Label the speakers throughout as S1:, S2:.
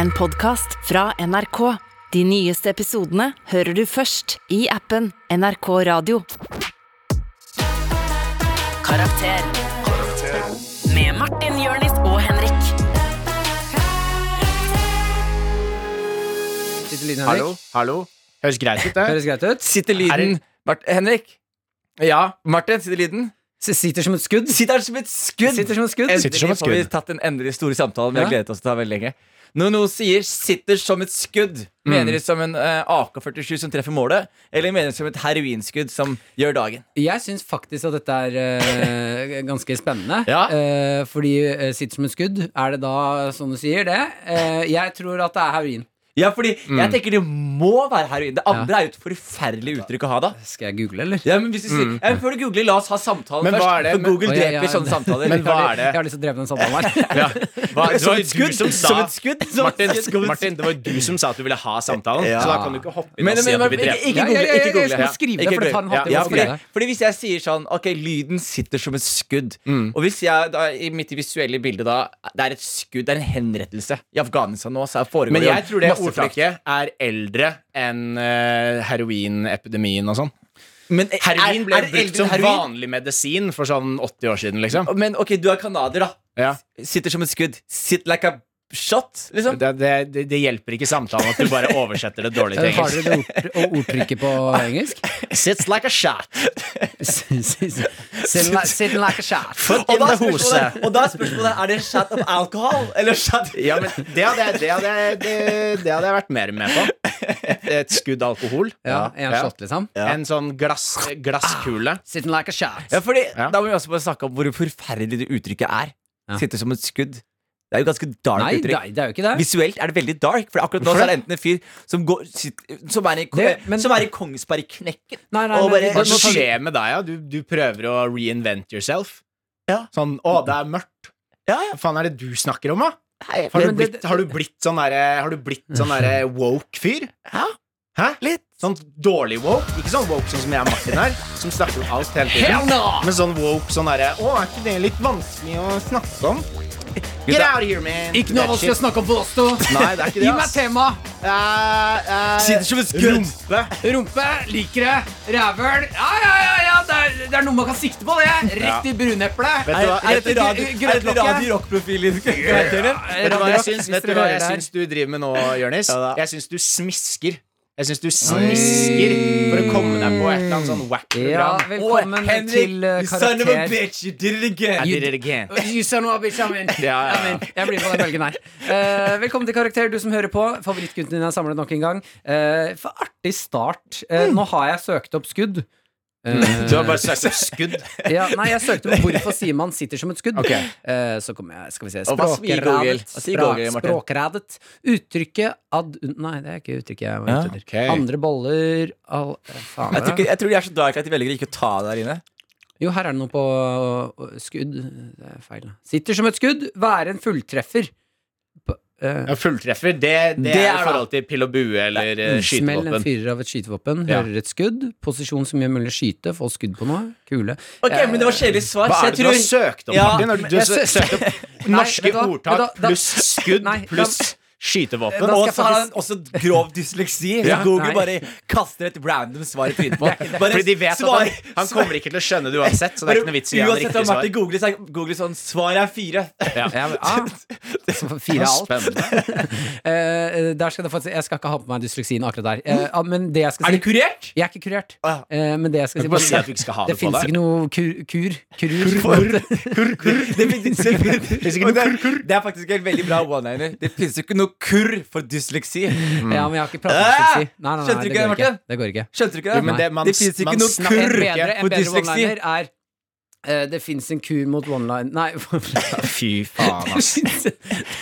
S1: En podcast fra NRK. De nyeste episodene hører du først i appen NRK Radio. Karakter. Med Martin, Jørnis og Henrik.
S2: Sitter lyden, Henrik?
S3: Hallo, hallo. Høres greit ut, det.
S2: Høres greit ut?
S3: Sitter lyden Mart Henrik? Ja, Martin, sitter lyden?
S2: S- Sitter som et skudd?
S3: Sitter han som et skudd?
S2: Sitter som et skudd.
S3: Endelig
S4: Sitter som et
S3: får vi
S4: skudd.
S3: tatt den endelig store samtalen vi har
S2: Ja.
S3: gledet oss til å ta veldig lenge. Når noen sier 'sitter som et skudd',
S4: Mm.
S3: mener de som en eh, AK-47 som treffer målet, eller mener de som et heroinskudd som gjør dagen?
S2: Jeg syns faktisk at dette er eh, ganske spennende.
S3: Ja.
S2: Eh, fordi eh, sitter som et skudd, er det da sånn du sier det? Eh, jeg tror at det er heroin.
S3: Ja, fordi
S4: Mm.
S3: jeg tenker det må være heroin. Det andre er jo et forferdelig uttrykk å ha, da.
S2: Skal jeg google, eller?
S3: Ja, men hvis du sier, ja, men Før du googler, la oss ha samtalen
S4: Mm. Men hva
S3: først.
S4: er det?
S3: For
S4: Men-
S3: Google
S2: Å, ja,
S3: dreper
S2: ja,
S3: sånne
S2: det-
S3: samtaler.
S4: Men hva er det?
S2: Jeg har lyst til å drepe den samtalen her.
S4: Ja. Hva, det
S3: Som
S4: var
S3: et skudd?
S4: du som sa
S3: Som et skudd? Som et
S4: Martin,
S3: skudd.
S4: Martin, det var du som sa at du ville ha samtalen,
S3: Ja.
S4: så da kan du ikke hoppe inn
S3: Men,
S4: og si
S3: men,
S4: at
S3: men,
S4: du vil
S3: ikke,
S4: drepe.
S3: ikke
S2: Ja,
S3: google.
S2: ja, ja,
S3: ikke
S2: ja, jeg
S3: google.
S2: skal skrive det,
S3: Ikke
S2: for det tar en
S3: google.
S2: halvtime
S3: ja,
S2: å
S3: fordi,
S2: skrive det.
S3: fordi hvis jeg sier sånn Ok, lyden sitter som et skudd.
S4: Mm.
S3: Og hvis jeg da, i mitt visuelle bilde da Det er et skudd, det er en henrettelse. I Afghanistan nå så foregår
S4: Men
S3: jo
S4: jeg tror det
S3: masse drap.
S4: ordtrykket er eldre enn eh, heroinepidemien og sånn.
S3: Men er-
S4: Heroin ble
S3: er det eldre
S4: brukt som
S3: heroin?
S4: vanlig medisin for sånn 80 år siden, liksom.
S3: Men ok, du er canadier, da.
S4: Ja.
S3: Sitter som et skudd. Sit like a shot, liksom.
S4: Det, det, det, det hjelper ikke samtalen at du bare oversetter det dårlig til
S2: Eh, Har
S4: engelsk.
S2: dere det ord- og ordtrykket på engelsk?
S4: Sits like a shot.
S2: Sitting like- sitting like a shot.
S4: Foot
S3: Og
S4: in
S3: da, er
S4: the hose.
S3: spørsmålet- og da er spørsmålet er det shot of alcohol eller shot
S4: Ja, men det hadde, jeg- det, hadde, jeg- det, det hadde jeg vært mer med på. Et skudd alkohol.
S2: Ja, en shot, liksom.
S4: En sånn glass, glasskule.
S2: Sitting like a shot.
S3: Ja, fordi
S4: Ja.
S3: Da må vi også bare snakke om hvor forferdelig det uttrykket er.
S2: Ja.
S3: Sitter som et skudd. Det er jo ganske dark
S2: Nei, det
S3: uttrykk.
S2: er- det er jo ikke det.
S3: Visuelt er det veldig dark. For akkurat nå
S4: Hvorfor
S3: så er det enten en fyr som, går, sitter, som, er, i, eh,
S2: Det- men-
S3: som er i Kongsberg i knekken.
S2: Nei, nei,
S3: Og
S2: men-
S3: bare-
S4: Hva
S2: nå tar vi-
S4: skjer med deg? Ja? Du, du prøver å reinvent yourself?
S3: Ja.
S4: Sånn 'Å, det er mørkt'.
S3: Ja,
S4: Hva faen er det du snakker om, da?
S3: Nei,
S4: Har du
S2: Men det-
S4: blitt, har du blitt sånn derre har du blitt sånn derre woke fyr?
S3: Ja.
S4: Hæ?
S3: Litt.
S4: Sånn dårlig woke? Ikke sånn woke sånn som jeg og Martin er, som snakker om alt hele
S3: Hell
S4: tiden.
S3: no!
S4: Men sånn woke sånn derre Å, er ikke det litt vanskelig å snakke om? Get
S3: Gutta,
S4: out of here, man!
S2: Ikke noe
S4: That
S2: vanskelig å
S4: shit.
S2: snakke om på oss to.
S4: Nei, det er ikke
S2: Gi
S4: det,
S2: meg
S4: ass.
S2: tema.
S4: Eh, eh,
S3: Sitter som et skudd.
S4: Rumpe.
S2: Rumpe, liker det. Rævøl. Ja, ja, ja, ja. Det, er, det er noe man kan sikte på, det. Rett i bruneplet.
S4: Vet
S3: Er,
S4: du hva?
S3: er
S2: Rett
S3: dette
S2: i
S3: radio,
S2: gr-
S3: er dette
S2: grønnlokket?
S3: radio rock-profil i karakteren?
S4: Vet du hva jeg
S2: Rock,
S4: syns,
S2: hvis
S4: vet du
S2: dere
S4: hva
S2: hører
S4: jeg
S2: det her.
S4: syns du driver med nå, Jonis?
S3: Ja da.
S4: Jeg syns du smisker. Jeg syns du smisker for å komme deg på et eller annet sånn wack
S2: Ja,
S4: program.
S2: velkommen til eh,
S3: you son of a
S2: Karakter.
S3: bitch, you did it again.
S4: I did it again.
S2: You son of a bitch, I'm in.
S4: Ja, ja, ja.
S2: I'm in. Jeg blir på den bølgen her. Eh, velkommen til Karakter, du som hører på. Favorittgutten din er samlet nok en gang. Eh, for artig start. Eh,
S4: Mm.
S2: nå har jeg søkt opp skudd. Eh,
S4: Du har bare sagt et skudd.
S2: ja, nei, jeg søkte på hvorfor sier man 'sitter som et skudd'.
S4: Ok.
S2: Eh, så kommer jeg, skal vi se
S3: Og hva sier Google?
S2: Språkrædet.
S3: Hva sier Google, Martin?
S2: Språkrædet. Uttrykket ad... Nei, det er ikke uttrykket jeg var
S3: Ja,
S2: ute etter.
S4: ok.
S2: Andre boller al... eh, Faen.
S3: Jeg tror, ikke, jeg tror de er så dark at de velger ikke å ta det der inne.
S2: Jo, her er det noe på øh, skudd. Det er feil. Sitter som et skudd. Være en fulltreffer. På, øh,
S4: Ja, fulltreffer, det, det,
S3: Det
S4: er
S3: er
S4: i
S3: da-
S4: forhold til pil og bue eller eh,
S2: Smell en
S4: skytevåpen.
S2: fyrer av et skytevåpen.
S4: Ja.
S2: Hører et skudd. Posisjon som gjør mulig å skyte. Få skudd på noe. Kule.
S3: Ok,
S2: Eh,
S3: men Det var kjedelig svar.
S4: Hva er
S3: Så jeg
S4: det du
S3: tror
S4: har søkt opp,
S3: Ja,
S4: Martin? Har du- Du
S2: jeg
S4: har sø-
S2: sø-
S4: søkt opp
S2: Nei,
S4: norske
S2: vet du hva? Vet du hva?
S4: ordtak
S2: Da-
S4: pluss skudd
S2: Nei, da-
S4: pluss
S2: Da
S4: skytevåpen.
S2: skal
S3: Og
S2: jeg
S3: så har han
S2: faktisk-
S3: også grov dysleksi. Så
S4: Ja.
S2: Nei.
S3: Google bare kaster et random svar i trynet på ham.
S4: Fordi de vet at han, han kommer ikke til å skjønne det uansett, så det er ikke noe vits i å gi han
S3: Uansett
S4: riktig
S3: om
S4: svar.
S3: Martin googler, så er Google sånn Svar er fire.
S2: Ja, men, ah, så fire av alt.
S4: Spennende.
S2: Eh, der skal det faktisk, jeg skal ikke ha på meg dysleksien akkurat der. Eh, ah, men det jeg skal
S3: Er det
S2: si
S3: kurert?
S2: Jeg er ikke kurert.
S3: Ah.
S2: Eh, men det jeg skal
S4: Du
S2: si
S4: må si at du ikke skal ha
S2: Det
S4: det, på
S2: fins
S4: deg.
S2: ikke noe kur. kur, kurur.
S3: Det, finnes- Og det, er- det er faktisk en veldig bra one-liner. Det finnes jo ikke noe kurr for dysleksi.
S2: Ja, men jeg har ikke pratedysleksi.
S3: Mm.
S2: Nei, nei,
S3: Ah!
S2: nei,
S3: Skjønte du
S2: det
S3: ikke
S2: går
S3: det,
S2: ikke.
S3: Martin?
S2: Det går ikke.
S3: Skjønte du
S4: Jo,
S3: ikke det?
S4: men det- man-
S3: det finnes ikke
S4: man
S3: noe
S4: snakker-
S2: En
S3: kurr
S2: bedre, en
S3: for
S2: bedre
S3: dysleksi.
S2: one-liner er eh, Det fins en kur mot one-line Nei.
S4: Fy faen, ass.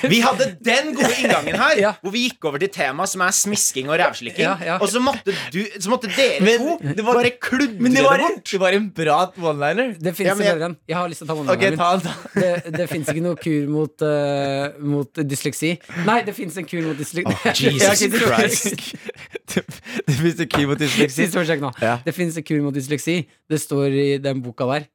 S4: Vi hadde den gode inngangen her,
S2: Ja.
S4: hvor vi gikk over til tema som er smisking og rævslikking.
S2: Ja, ja.
S4: Og så måtte, du, så måtte dere
S3: Men
S4: to
S3: det var-
S4: bare kludre
S3: Men det var,
S4: bort.
S3: det var en bra one-liner.
S2: Det fins
S4: Ja,
S2: en
S4: men jeg-
S2: bedre en. Jeg har lyst til å ta
S3: Ok,
S2: one-lineren
S3: ta den, ta.
S2: min. Det, det fins ikke noe kur mot, eh, mot dysleksi. Nei, det fins en kur mot dysleksi.
S4: Jesus Christ.
S3: Det det finnes en kur mot dysleksi.
S2: Siste forsøk nå.
S3: Ja.
S2: Det fins en kur mot dysleksi. Det står i den boka der.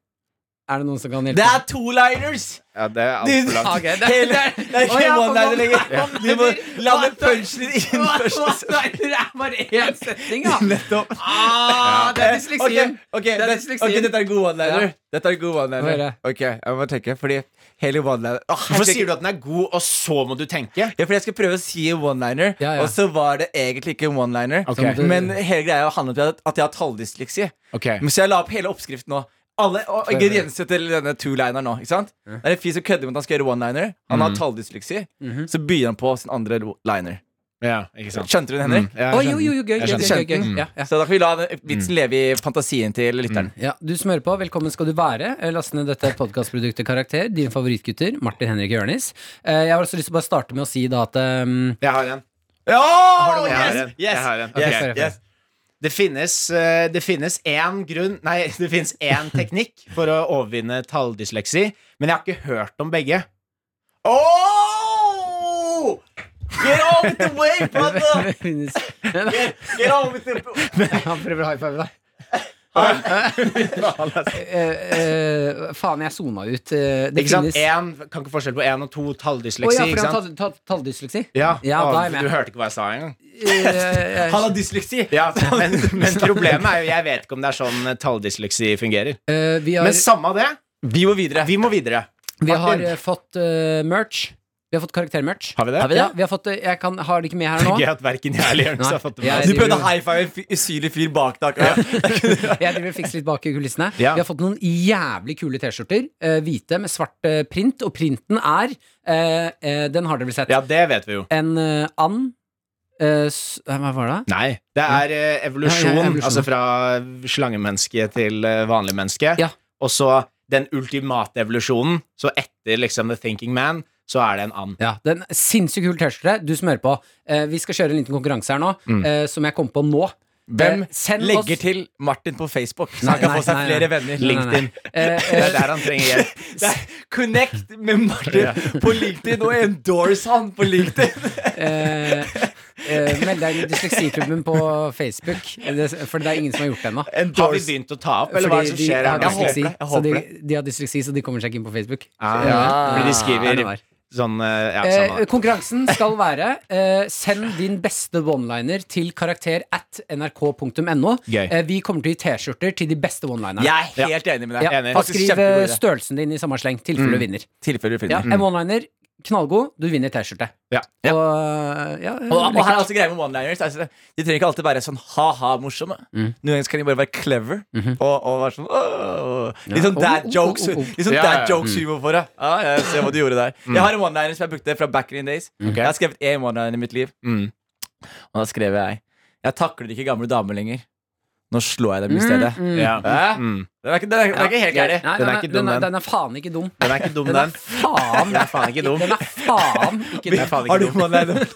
S2: Er det noen som kan hjelpe?
S3: Det er two-liners!
S4: Ja, det er
S3: Du-
S4: alt for langt.
S2: Ok, det, det
S3: Hele-
S2: er-
S3: Det er
S2: Å,
S3: ikke
S2: ja,
S3: one-liner
S2: for
S3: lenger.
S2: one-
S3: Du må lande punchen inn først.
S2: One-liner er bare én setning, da!
S3: Nettopp.
S2: Ah, det er
S3: Ok,
S2: dysleksien.
S3: ok,
S2: Det er
S3: det-
S2: dysleksien.
S3: ok, dette er en god one-liner.
S2: Ja.
S3: Dette er en god
S2: Hva er
S3: one-liner.
S2: det?
S3: Ok, jeg må tenke, fordi hele one-liner Åh, jeg
S4: Hvorfor
S3: skal-
S4: sier du at den er god, og så må du tenke?
S3: Ja, fordi jeg skal prøve å si en one-liner,
S2: Ja, ja.
S3: og så var det egentlig ikke en one-liner.
S4: Ok.
S3: Men hele greia handlet om at- at jeg har talldysleksi.
S4: Ok
S3: Men Så jeg la opp hele oppskriften nå. Alle og ingrediensene til denne two-lineren nå. ikke sant? Det er en fyr som kødder med at han skal gjøre one-liner. Han
S4: Mhm.
S3: har talldysleksi. Så begynner han på sin andre lo- liner.
S4: Ja, ikke sant
S3: Skjønte du den, Henrik?
S4: Ja,
S2: Å,
S4: jeg
S2: jo, jo,
S4: skjønner.
S2: jo, gøy,
S4: Jeg
S2: gøy, gøy,
S3: skjønner.
S2: gøy,
S4: Mm.
S2: gøy. Ja, ja.
S3: Så da kan vi la den vitsen leve i fantasien til lytteren.
S2: Ja, du som hører på, velkommen skal du være. Eh, Last ned dette podkastproduktet Karakter. Dine favorittgutter, Martin Henrik Jørnis. Eh, Jeg har også lyst til å bare starte med å si da at ehm,
S4: Jeg har en.
S3: Ja!
S4: du- jeg har en.
S3: yes,
S4: Jeg har en.
S3: yes,
S4: Ok,
S2: sorry, sorry.
S3: yes.
S4: Det finnes, eh, det finnes én grunn Nei, det finnes én teknikk for å overvinne talldysleksi, men jeg har ikke hørt om begge.
S3: Oh! Get on with the way, brother! Get on with the...
S2: Han prøver å high five deg.
S4: Ikke
S2: eh, faen, jeg sona ut. Eh, Det
S4: sant?
S2: finnes
S4: En, kan ikke forskjell på én og to
S2: Å
S4: talldysleksi,
S2: ja, for
S4: ikke
S2: han
S4: sant?
S2: har tall- talldysleksi?
S4: Ja,
S2: Ja,
S4: Å,
S2: da er jeg med.
S4: Du hørte ikke hva jeg sa engang.
S2: Eh,
S3: Han har dysleksi.
S4: Ja, men, men problemet er jo Jeg vet ikke om det er sånn eh, talldysleksi fungerer.
S2: eh, vi har,
S4: Men samme av det,
S3: Vi må videre.
S4: vi må videre.
S2: vi har
S4: Martin.
S2: eh, fått eh, merch. Vi har fått karaktermerch.
S4: Har vi det?
S3: Har vi det?
S2: Ja, vi har fått eh, Jeg kan, har det ikke med her nå.
S4: Gøy at verken jeg eller Jonis
S2: Nei,
S4: har fått det
S2: jeg-
S4: med.
S3: Du prøvde å high five en fy- usynlig fyr bak deg. akkurat.
S2: Jeg driver og fikser litt bak i kulissene.
S4: Ja.
S2: Vi har fått noen jævlig kule T-skjorter. eh, hvite med svart eh, print. Og printen er eh, eh, Den har dere vel sett.
S4: Ja, det vet vi jo.
S2: En eh, and eh, s- eh, Hva var det?
S4: Nei, det er eh, evolusjon,
S2: Ja, ja, evolusjon.
S4: altså fra slangemenneske til eh, vanlig menneske.
S2: Ja.
S4: Og så den ultimate evolusjonen, så etter liksom The Thinking Man, så er det en and.
S2: Ja, den Sinnssykt kul T-skjorte. Du som hører på, eh, vi skal kjøre en liten konkurranse her nå, eh, som jeg kom på nå.
S3: Mm. Hvem
S2: Eh, send
S3: legger
S2: oss-
S3: til Martin på Facebook, så han kan
S2: Nei,
S3: få seg
S2: nei, nei.
S3: flere venner?
S2: Nei, nei, nei. Eh,
S4: Det
S2: eh,
S4: er der han trenger hjelp.
S3: Det er Connect med Martin på LinkedIn og endorse han på LinkedIn.
S2: eh, eh, Meld deg inn i Dysleksiklubben på Facebook, det, for det er ingen som har gjort det ennå.
S4: Har vi begynt å ta opp, eller hva er det som
S2: de
S4: skjer?
S2: har
S4: her nå?
S3: håper
S2: dysleksi,
S3: det, jeg
S2: så de,
S3: håper
S2: de har dysleksi, så de kommer seg ikke inn på Facebook.
S4: Ah,
S3: Ja.
S4: Fordi de
S2: Ja, det
S4: skriver
S2: var.
S4: sånn eh, Ja,
S2: Eh,
S4: samme.
S2: konkurransen skal være eh, Send din beste one-liner til karakter at nrk.no.
S4: Gøy.
S2: Eh, vi kommer til å gi T-skjorter til de beste one-linerne.
S3: Jeg er helt enig med deg.
S2: Ja,
S4: enig.
S2: og
S3: Faktisk
S2: skriv eh,
S3: kjempegod idé.
S2: størrelsen din i samme sleng, tilfelle
S4: Mm.
S2: du vinner.
S3: Tilfelle du
S2: Ja,
S3: finner.
S2: En one-liner, knallgod, du vinner T-skjorte.
S4: Ja.
S2: Og, eh, ja,
S3: Og, og her
S2: lekkert.
S3: er altså greia med one-liners. Altså, de trenger ikke alltid være sånn ha-ha-morsomme.
S2: Mm.
S3: Noen ganger kan de bare være clever. og, og være sånn «Åh». Litt sånn
S2: Mhm. Ja.
S3: dad
S2: Oh, oh,
S3: jokes.
S2: oh, oh.
S3: Litt sånn
S4: Ja, ja,
S3: dad
S4: ja.
S3: jokes-humor for deg. Ja, jeg ser hva du gjorde der.
S2: Mm.
S3: Jeg har en one-liner som jeg brukte fra back in the days. Jeg har skrevet én one-liner i mitt liv.
S4: Mm.
S3: Og da skrev jeg Jeg takler ikke gamle damer lenger. Nå slår jeg dem i stedet.
S4: Ja.
S3: Hæ?
S4: Mm.
S3: Den er ikke, den er, den er ikke helt gærlig.
S2: Mm, Nei,
S4: Den er
S2: den,
S4: ikke
S2: er,
S4: dum,
S2: den, er,
S4: den.
S2: den er faen ikke dum.
S4: Den er ikke dum,
S2: Den er
S4: den.
S2: faen
S4: Den er faen ikke dum.
S2: Den er faen ikke
S4: Den er
S2: dum.
S4: faen
S3: Har
S4: ikke
S3: du
S4: dum.
S3: one-liner?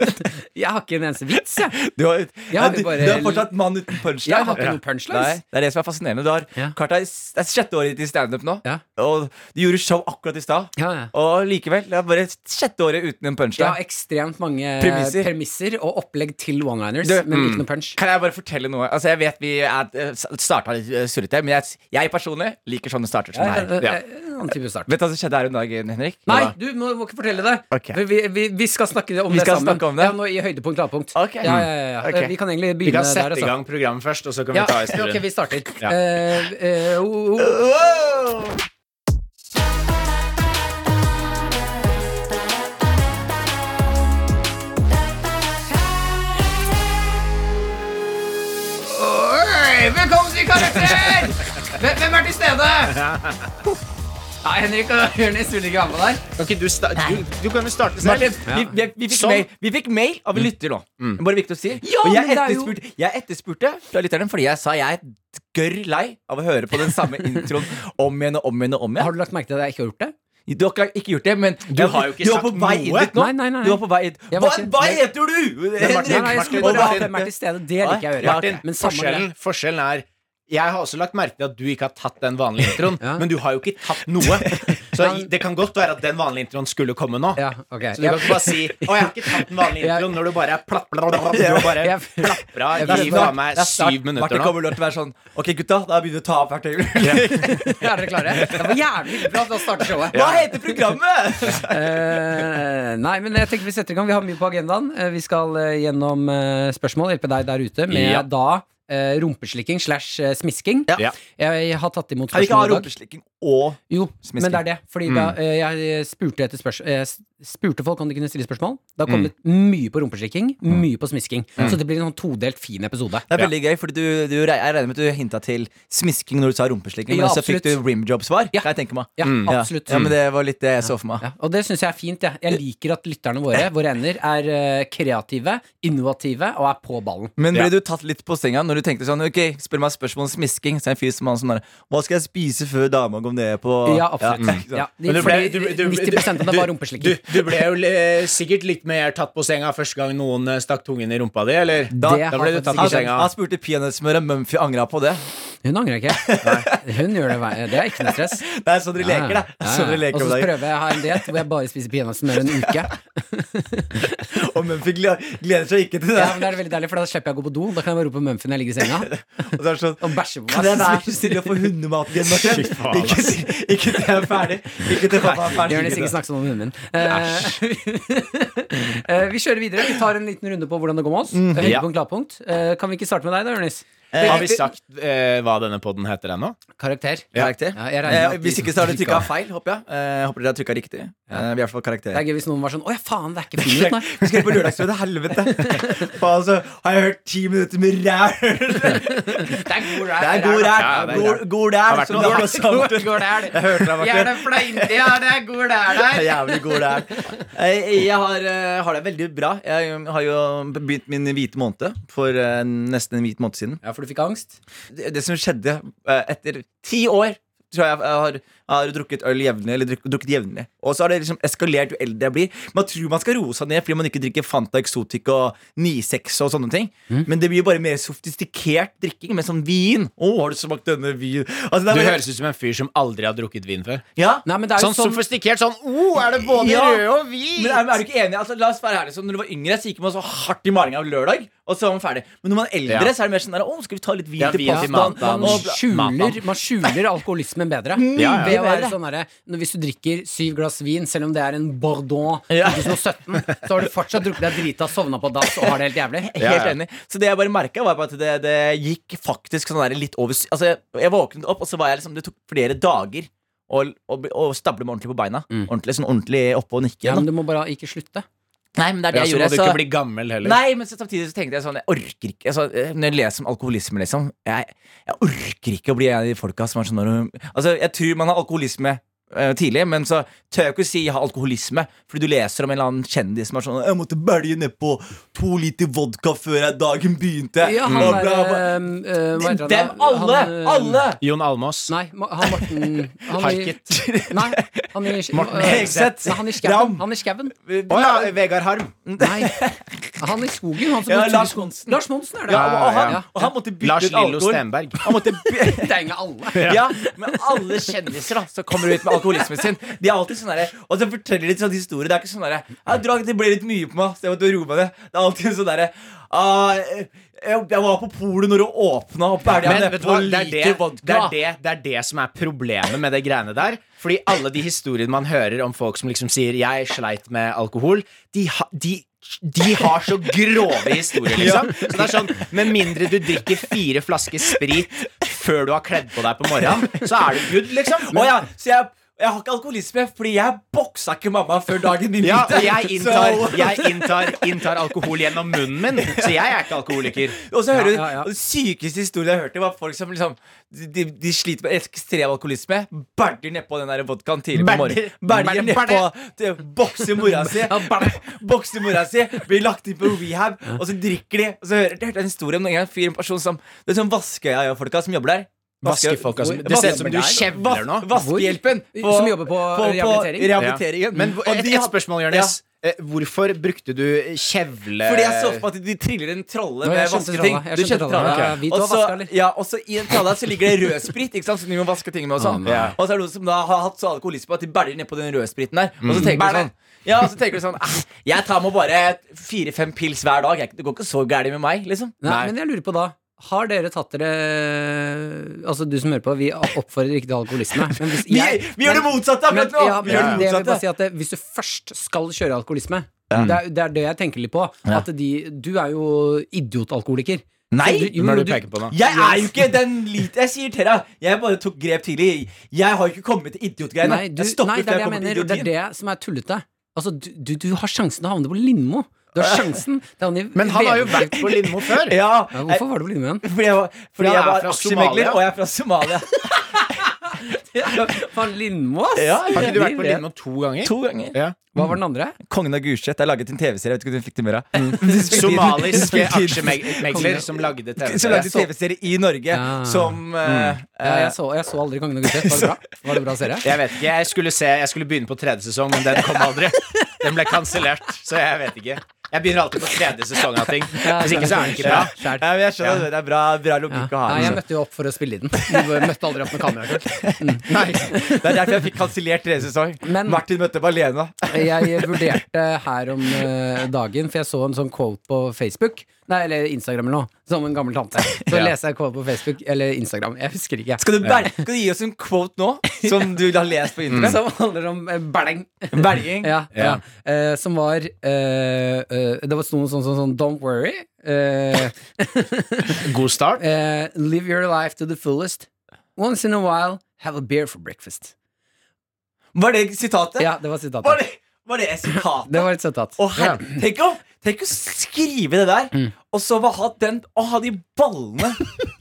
S2: Jeg har ikke en eneste vits, jeg.
S3: Du har,
S2: Ja, vi
S3: du,
S2: bare-
S3: du har fortsatt mann uten punchline.
S2: Jeg har ikke
S3: Ja.
S2: noen punchlines.
S3: Nei, det er det som er fascinerende. Du har
S2: Ja.
S3: klart deg, Det er sjette året ditt i standup nå,
S2: Ja.
S3: og du gjorde show akkurat i stad.
S2: Ja, ja.
S3: Og likevel, det er bare sjette året uten
S2: Jeg
S3: en punchline.
S2: har ekstremt mange
S3: Premisser.
S2: premisser, og opplegg til one-liners,
S3: Du,
S2: men
S4: Mm.
S2: ikke noe punch.
S3: Kan jeg bare fortelle noe? Altså, jeg vet vi er, starta litt eh, surrete, men jeg, jeg personlig liker sånne starter som det her.
S2: Eh,
S4: ja.
S2: eh, Annen type start.
S3: Vet du hva som skjedde her en dag, Henrik?
S2: Nei,
S3: Hva da?
S2: du må, må ikke fortelle det.
S3: Ok.
S2: For Vi, vi, vi skal snakke om
S3: Vi
S2: det
S3: skal
S2: sammen.
S3: snakke om det.
S2: Ja, nå I høydepunkt lavpunkt.
S3: Ok.
S2: Ja, ja, ja, ja.
S3: Ok.
S2: Eh, Vi kan egentlig
S4: Vi
S2: begynne
S4: kan
S2: der.
S4: sette i
S2: altså.
S4: gang programmet først, og så kan vi
S2: Ja,
S4: ta
S2: ok,
S4: historien.
S2: vi starter.
S4: Ja.
S2: Eh, eh, oh, oh, oh.
S3: Wow!
S2: Oi, Velkommen til Karakter! Hvem, hvem er til stede? Ja, Henrik og Jonis vil ikke være med der.
S4: Kan ikke du sta- du, du kan jo starte selv.
S3: Martin, vi, vi, vi, fikk
S4: Sånn.
S3: mail, vi fikk mail av en lytter nå. Det er Bare viktig å si.
S2: Mm. Ja,
S3: og jeg
S2: men det er jo-
S3: etterspurte, jeg etterspurte fra lytterne fordi jeg sa jeg er gørr lei av å høre på den samme introen om igjen og om igjen. og om
S2: Har
S3: igjen
S2: du lagt merke til at jeg ikke har gjort det?
S3: Du har ikke- ikke gjort det, men du,
S4: har jo ikke
S3: du var
S4: sagt
S3: på vei inn
S4: noe.
S3: dit nå.
S2: Nei, nei, nei.
S3: Du var på vei inn.
S2: Jeg
S3: Hva,
S2: var ikke-
S3: hva
S2: Nei.
S3: heter du? Henrik?
S4: Martin,
S2: Nei, nei, jeg skulle bare
S3: Og hva-
S2: ha hvem er til stede. Det liker jeg å gjøre.
S3: Martin,
S2: Men samme
S4: Forskjellen, forskjellen er Jeg har også lagt merke til at du ikke har tatt den vanlige introen,
S2: Ja.
S4: men du har jo ikke tatt noe. Så det kan godt være at den vanlige introen skulle komme nå.
S2: Ja, ok.
S4: Så du kan ikke bare si 'Å, jeg har ikke tatt den vanlige
S2: Jeg-
S4: introen', når du bare er platt, platt, platt, platt, du bare
S2: Jeg-
S4: plapra
S2: Jeg-
S4: i
S2: Jeg-
S4: faen meg
S2: Jeg-
S4: syv
S3: Martin
S4: minutter nå.
S3: kommer til å være sånn Ok, gutta, da begynner vi å ta opp verktøyet.
S2: Ja, er dere klare? Det var jævlig bra til å starte showet.
S3: Hva heter programmet?
S2: Eh, nei, men jeg tenker vi setter i gang. Vi har mye på agendaen. Eh, vi skal eh, gjennom eh, spørsmål, hjelpe deg der ute, med
S4: Ja.
S2: da eh, rumpeslikking slash eh, smisking.
S4: Ja.
S2: Jeg har tatt imot
S3: Kan vi ikke
S2: spørsmål
S3: ha
S2: i dag.
S3: rumpeslikking og
S2: Jo,
S3: Smisking.
S2: men det er det. Fordi da
S4: Mm.
S2: eh, jeg spurte, etter spørs eh, s- spurte folk om de kunne stille spørsmål. Det
S4: Mm.
S2: har kommet mye på rumpeslikking, mye på smisking. Så det blir en sånn todelt fin episode.
S3: Det er veldig gøy, fordi du, du, jeg regner med at du hinta til smisking når du sa rumpeslikking,
S2: Ja,
S3: men så fikk du
S2: absolutt.
S3: rimjob-svar.
S2: Ja.
S3: Kan jeg tenke meg.
S2: Ja,
S4: Mm.
S2: absolutt.
S3: Ja. ja, men det var litt det jeg så for meg.
S2: Ja, og det syns jeg er fint. Jeg. jeg liker at lytterne våre, våre ender, er eh, kreative, innovative og er på ballen.
S3: Men ble
S4: Ja.
S3: du tatt litt på senga når du tenkte sånn Ok, spør meg spørsmål om smisking, så er jeg en fyr som han sånn der, Hva skal jeg spise før dama kom ned på
S2: Ja, absolutt.
S3: ikke sant?
S2: Ja,
S4: Men du ble-
S2: fordi
S4: du- du-
S2: 90 av det
S4: du-
S2: var
S4: Du,
S2: rumpeslikking.
S4: du ble jo eh, sikkert litt mer tatt på senga første gang noen eh, stakk tungen i rumpa di, eller?
S3: Da-
S2: Det
S4: da ble
S2: har
S4: du tatt
S2: faktisk ikke-
S4: på
S3: Han,
S2: Altså,
S4: senga.
S3: han spurte peanøttsmør, og Mumphy angra på det.
S2: Hun angrer ikke. Hun gjør det hver Det er ikke noe stress.
S3: Det er sånn dere leker, det.
S2: Ja, ja.
S3: Sånn dere
S2: Og
S3: leker
S2: så
S3: om dagen.
S2: prøver jeg å ha en diett hvor jeg bare spiser peanøttsmør en uke.
S3: Og Mumphy gle- gleder seg ikke til det.
S2: Ja, men det er veldig deilig, for da slipper jeg å gå på do. Da kan jeg bare rope Mumphy når jeg ligger i senga.
S3: Og så er det sånn
S2: Og bæsje på
S3: Kan jeg
S2: meg.
S3: være så snill å få hundemat igjen, Martin?
S4: Fy faen,
S3: Ikke, ikke til jeg er ferdig. Ikke til pappa er ferdig.
S2: Jonis, ikke snakk sånn om hunden min. Eh, eh, vi kjører videre. Vi tar en liten runde på hvordan det går med oss. Høydepunkt, lavpunkt. Eh, kan vi ikke starte med deg, da, Jonis? altså,
S4: Har vi sagt eh, hva denne podden heter ennå?
S2: Karakter.
S3: Karakter.
S2: Ja, jeg regner med
S3: Eh,
S2: at
S3: hvis
S2: de-
S3: ikke så har dere trykka
S2: trykket.
S3: feil, håper jeg. Eh, håper dere har trykka riktig. Eh, vi er i hvert fall
S2: Det
S3: karakterer.
S2: er gøy hvis noen var sånn Å ja, faen, det er ikke fin ut, nei.
S3: Vi skal på Lørdagsrådet, helvete! Faen, altså, har jeg hørt ti minutter med ræl?
S2: Det er god
S3: Det er
S2: ræl.
S3: god ræl.
S4: Ja, det er
S3: God- God ræl.
S4: Har vært
S3: som
S4: noe
S3: det er
S4: dårlig.
S3: sagt.
S2: God- god ræl.
S3: Jeg hørte deg, Martin.
S2: Gjerne fleinte, ja, det er god ræl
S3: Det
S2: der.
S3: er Jævlig god ræl. Eh, Jeg har, eh, har det veldig bra. Jeg um, har jo begynt min hvite måned for eh, nesten en hvit måned siden.
S2: Ja, for du fikk angst?
S3: Det det som skjedde eh, etter ti år Tror jeg, jeg, har, jeg har drukket øl jevnlig, eller druk, drukket jevnlig. Og så har det liksom eskalert jo eldre jeg blir. Man tror man skal roe seg ned fordi man ikke drikker Fanta Exotic og 96 og sånne ting.
S4: Mm.
S3: Men det blir bare mer sofistikert drikking med sånn vin. Å, har du smakt denne vin? Altså, det er
S4: Du
S3: bare-
S4: høres ut som en fyr som aldri har drukket vin før.
S3: ja.
S2: Nei, men det er jo
S4: Sånn
S2: sånn,
S4: sofistikert sånn oh, er det både
S3: Ja.
S4: rød og hvit?
S3: Men er, er du ikke enig? Altså, la oss være ærlig, så Når du var yngre, så gikk man så hardt i malinga av lørdag, og så var man ferdig. Men når man er eldre,
S4: Ja.
S3: så er det mer sånn der, å, skal vi ta litt vin
S4: Ja,
S3: til
S4: vin til
S3: pastaen?
S4: mat, da.
S2: man,
S3: Og-
S2: skjuler,
S4: Matan.
S2: man skjuler alkoholismen bedre.
S4: ja.
S2: Ved å være
S3: Bedre.
S2: sånn derre når- Hvis du drikker syv glass vin, selv om det er en Bordeaux
S3: Ja.
S2: 2017, så har du fortsatt drukket deg drita, sovna på dass og har det helt jævlig.
S3: Helt
S4: Ja, ja.
S3: enig. Så det jeg bare merket var bare at det, det gikk faktisk sånn der litt over sy- Altså, jeg, jeg våknet opp, og så var jeg liksom Det tok flere dager å, å, bli- å stable meg ordentlig på beina.
S4: Mm.
S3: Ordentlig, sånn ordentlig oppe og nikke
S2: Ja,
S3: igjen.
S2: men
S3: da.
S2: du må bare ikke slutte.
S3: Nei, men det er det
S4: Ja,
S3: jeg
S4: så må
S3: gjorde.
S4: du
S3: så-
S4: ikke bli gammel heller.
S3: Nei, men så samtidig så tenkte jeg sånn Jeg orker ikke altså, eh, Når jeg leser om alkoholisme, liksom jeg, jeg orker ikke å bli en av de folka som er sånn når hun, Altså, jeg tror man har alkoholisme eh, tidlig, men så tør jeg ikke å si jeg har alkoholisme, fordi du leser om en eller annen kjendis som er sånn 'Jeg måtte bælje nedpå to liter vodka før jeg- dagen begynte'.
S2: Ja, han
S3: og
S2: der,
S3: bla, bla.
S2: ehm, eh, hva heter han
S3: Dem
S2: da?
S3: alle!
S2: Han, eh,
S3: alle!
S4: Jon Almås.
S2: Nei, Ma- han Morten han i-
S4: Harket.
S2: Nei, han i
S4: Morten
S2: eh,
S3: Hegseth.
S2: Nei, han i
S3: Ram.
S2: skauen. Han i skauen.
S4: Å ja, Vegard Harm.
S2: Nei, han i skogen. Han som
S3: Ja,
S2: bodde i
S3: Lars
S2: skogen.
S3: Monsen.
S2: Lars Monsen er det.
S3: Ja, og, og, han,
S4: Ja.
S3: og han måtte bytte
S4: Lars
S3: ut
S4: Lillo
S3: alkohol.
S4: Stenberg.
S3: Han måtte by
S2: Det er ingen alle.
S3: Ja. men alle kjendiser da som kommer ut med alkoholismen sin, De er alltid sånn derre Og så forteller de sånn historie. Det er ikke sånn derre Jeg drakk, det ble litt mye på meg, så jeg måtte roe meg ned. Det er alltid sånn derre «Ah, jeg, jeg var på polet når det åpna, og bælja
S4: Men vet du
S3: nedpå
S4: hva, det er det,
S3: liter
S4: det,
S3: vodka.
S4: er det, det er det som er problemet med det greiene der. Fordi alle de historiene man hører om folk som liksom sier 'jeg sleit med alkohol', de, ha, de, de har så grove historier, liksom. Så det er sånn, Med mindre du drikker fire flasker sprit før du har kledd på deg på morgenen, så er du good, liksom.
S3: Å ja, så jeg, jeg har ikke alkoholisme, fordi jeg boksa ikke mamma før dagen min
S4: Ja,
S3: begynte.
S4: og jeg inntar,
S3: Så-
S4: jeg inntar, inntar alkohol gjennom munnen min, så jeg er ikke alkoholiker.
S3: Og så hører du
S2: Ja, ja, ja.
S3: Den sykeste historien jeg hørte, var folk som liksom De, de sliter med ekstrem alkoholisme. Bæljer nedpå den der vodkaen tidlig på
S4: Bæljer-
S3: morgenen.
S4: bæljer-
S3: Bæljer nedpå Bokser mora si. Bokser mora si. Blir lagt inn på rehab, og så drikker de. Og så hører jeg hørte en historie om en gang en fyr, en person som Det er sånn Vaskøya-folka som jobber der.
S4: Vaskefolka som- altså. det ser ut som du kjevler nå.
S3: Vaskehjelpen.
S2: Som jobber på rehabilitering?
S3: rehabiliteringen.
S4: Men
S3: Og
S4: et,
S3: de
S4: et
S3: har-
S4: spørsmål, Jonis. eh, Hvorfor brukte du kjevle
S3: Fordi jeg så for meg at de triller en tralle
S2: Eh, Nå,
S3: med
S2: jeg skjønte
S3: vasketing.
S2: tralla. Jeg
S3: Du
S2: skjønte
S3: skjønte
S2: tralla.
S3: tralla.
S2: Ja, vi to
S3: Og
S2: har
S3: så-
S2: vaska, eller?
S3: Ja, og så i en tralla så ligger det rødsprit, ikke sant, som de må vaske tingene med og sånn.
S2: Å, nei.
S3: Ja. Og så er det noen som da har hatt så alkoholisme at de bæler ned på den rødspriten der. Og så tenker du
S2: Bæler.
S3: sånn ja, og så tenker du sånn "Ah, Jeg tar med bare fire-fem pils hver dag. Jeg, det går ikke så gærent med meg, liksom.
S2: Nei, Men jeg lurer på da Har dere tatt dere Altså, du som hører på, vi oppfordrer ikke til alkoholisme. Men hvis
S3: Vi,
S2: jeg-
S3: vi gjør det
S2: men-
S3: motsatte
S2: Men,
S3: akkurat nå!
S2: ja,
S3: vi gjør
S2: men
S3: det
S2: det vil bare
S3: motsatte.
S2: si at det, Hvis du først skal kjøre alkoholisme det, er, det er det jeg tenker litt på. At de, du er jo idiotalkoholiker.
S3: Nei,
S2: Så jo,
S4: Hvem er det
S2: du-
S4: du peker på nå?
S3: Jeg er jo ikke den lit... Jeg sier til deg, jeg bare tok grep tidlig. Jeg har jo ikke kommet til idiotgreiene.
S2: Nei, du,
S3: jeg stopper
S2: nei, det
S3: før
S2: er
S3: jeg
S2: det jeg
S3: kommer til
S2: mener. og Det
S3: idiotien.
S2: er det som er tullete. Altså, du, du, du har sjansen til å havne på Lindmo. Du har sjansen. Det er han i
S4: Men han har jo
S2: VM.
S4: vært på Lindmo før.
S3: Ja,
S2: ja, Hvorfor var du på Lindmo igjen?
S3: Fordi jeg var, fordi
S4: Ja,
S3: jeg
S4: jeg er
S3: var
S4: fra
S3: aksjemegler,
S4: Somalia.
S3: og jeg er fra Somalia.
S2: Faen, Lindmo, ass!
S3: Ja,
S4: Har ikke du vært
S2: Vi
S4: på
S2: vet.
S4: Lindmo to ganger?
S3: to ganger.
S4: Ja.
S2: Hva var den andre?
S3: Kongen av Gulset. Det er laget en TV-serie. Jeg vet ikke om du fikk det med deg.
S2: Mm.
S4: Somaliske
S2: Kongen.
S4: aksjemegler som lagde
S3: Som
S4: TV-serie.
S3: lagde TV-serie i Norge
S2: Ja. Mm.
S3: som eh,
S2: Ja,
S3: eh,
S2: jeg, så, jeg så aldri Kongen av Gulset. Var det bra? Var det bra serie?
S4: Jeg vet ikke, jeg skulle, se, jeg skulle begynne på tredje sesong, men den kom aldri. Den ble kansellert, så jeg vet ikke. Jeg begynner alltid på tredje sesong av ting. Hvis ikke, så er den ikke bra.
S3: ja, men jeg skjønner det. Det er bra, bra logikk å
S2: Ja.
S3: ha.
S2: Nei, jeg
S3: liksom.
S2: møtte jo opp for å spille i den. Du møtte aldri opp med kamerakull.
S3: Det er derfor jeg fikk kansellert tredje sesong.
S2: Men-
S3: Martin møtte Malena.
S2: Jeg vurderte her om eh, dagen, for jeg så en sånn quote på Facebook. Nei, eller Instagram eller noe. Som en gammel tante. Så
S4: Ja.
S2: leser jeg quote på Facebook eller Instagram. Jeg husker ikke.
S3: Skal du, ber skal du gi oss en quote nå, som du har lest på internett?
S2: Som handler om eh, bæleng.
S3: Belging.
S2: Mm. Ja, ja.
S4: Ja.
S2: Eh, som var eh, eh, Det var noe sånn sånn, sånn Don't worry. eh,
S4: God start.
S2: eh, live your life to the fullest. Once in a while, have a beer for breakfast.
S3: Var det sitatet?
S2: Ja, det var
S3: Var
S2: sitatet.
S3: det, var det sitatet?
S2: Det var et sitat.
S3: Å, herre- tenk, å, tenk å skrive det der, og så hva ha, den, å ha de ballene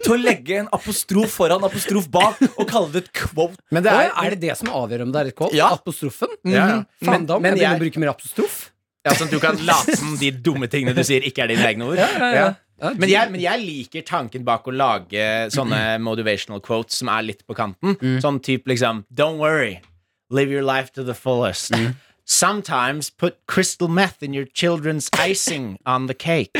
S3: til å legge en apostrof foran apostrof bak og kalle det et quote.
S4: Men det
S2: Oi,
S4: er,
S2: er det det som avgjør om det er et quote?
S3: Ja.
S2: Apostrofen?
S4: Ja, ja.
S2: Faen,
S4: Men-
S2: da må
S4: men
S2: jeg begynne å
S4: jeg-
S2: bruke mer apostrof.
S4: ja, sånn at du kan late som de dumme tingene du sier, ikke er dine egne ord. Ja.
S2: Ja,
S4: Men jeg, men jeg liker tanken bak å lage sånne motivational quotes som er litt på kanten. Sånn type liksom Don't worry. Live your life to the fullest. Sometimes put crystal meth in your children's icing on the cake.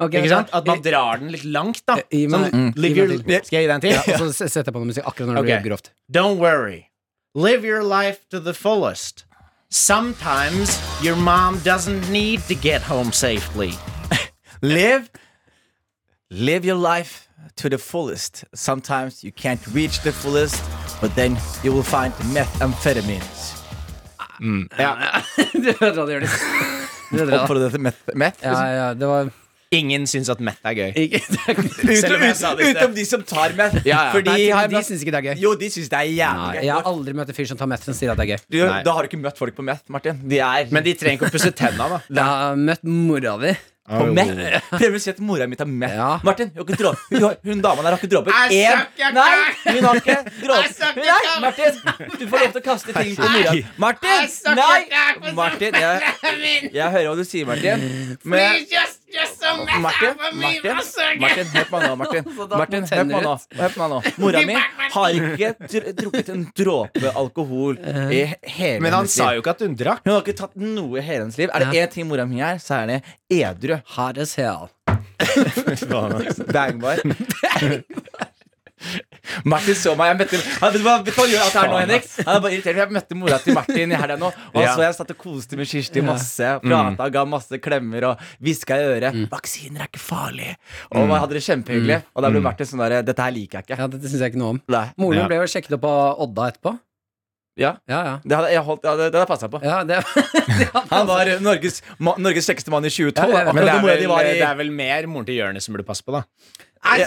S2: ok,
S4: Ikke sant?
S2: da-
S4: At man drar den litt langt, da.
S2: Gi meg-
S4: Sånn,
S2: Mm.
S4: live
S2: gi
S4: your,
S2: meg til.
S4: skal jeg gi deg en til?
S2: Ja, og så s- setter jeg på noe musikk akkurat når det
S4: Ok.
S2: blir grovt.
S4: Don't worry. Live your life to the fullest. Sometimes your mom doesn't need to get home safely.
S3: Live, live your life to the fullest. Sometimes you can't reach the fullest, but then you will find methamphetamines.
S2: du ødela det, Jonis. Du ødela det.
S3: Oppfordrer deg til meth? meth
S2: Ja,
S3: liksom.
S2: ja, det var
S4: Ingen syns at meth er gøy.
S2: ikke,
S4: Selv om jeg sa
S3: Utenom
S4: det i sted.
S3: utenom de som tar meth.
S4: Ja, ja.
S3: For de
S2: Nei,
S3: har
S2: de syns ikke det er gøy.
S3: Jo, de syns det er jævlig
S2: Nei,
S3: gøy.
S2: jeg har aldri møtt en fyr som tar meth som sier at det er gøy.
S3: Du,
S4: Nei.
S3: da har du ikke møtt folk på meth, Martin. De er
S4: Men de trenger ikke å pusse tenna, da.
S2: Jeg har møtt mora di.
S3: på meth. Prøver å si at mora mi tar meth.
S2: Ja.
S3: Martin, hun, har ikke dro- hun, har- hun dama der har ikke dråpet
S4: Jeg
S3: én
S4: sukker
S3: Nei,
S4: kuk!
S3: hun har ikke
S4: Jeg
S3: dråpet
S4: sukker
S3: Nei,
S4: kuk!
S3: Martin! Du får lov til å kaste ting på mora.
S4: Nei!
S3: Martin!
S4: Jeg sukker kuk på
S3: Nei! Martin, jeg, jeg hører hva du sier, Martin. Men
S4: just, just some meth
S3: Martin, Martin, Martin, hør på meg nå, Martin. Martin, hør på meg nå. Hør på meg nå. Mora mi har ikke dr- drukket en dråpe alkohol i hele
S4: Men han
S3: hennes
S4: sa jo
S3: liv.
S4: ikke at hun drakk.
S3: Hun har ikke tatt noe i hele hennes liv. Er det én ting mora mi er, så er det edru.
S2: Hard as hell.
S3: Bangbar. Martin så meg. Jeg møtte, han, vet du hva vet du hva han gjør alt det her nå, Henrik? Han er bare irritert. for Jeg møtte mora til Martin i helga nå, og han
S4: Ja. Mm.
S3: så jeg satt og koste med Kirsti masse. Prata, ga masse klemmer og hviska i øret. Vaksiner er ikke farlig. Og
S4: Mm.
S3: man hadde det kjempehyggelig. Og da ble Martin sånn der Dette her liker jeg ikke.
S2: Ja, dette syns jeg ikke noe om.
S3: Nei.
S2: Moren min
S4: Ja.
S2: ble jo sjekket opp av Odda etterpå.
S3: Ja.
S2: Ja, ja.
S3: Det hadde jeg holdt, ja, det, det hadde jeg passa på.
S2: ja det,
S3: Han var Norges, ma, Norges kjekkeste mann i
S2: Ja,
S3: 2012.
S2: jeg vet.
S4: Men det
S3: Akkurat
S4: er,
S3: mora di
S4: vel,
S3: var i
S4: det er vel mer moren til Jonis som burde passe på, da.
S3: Nei,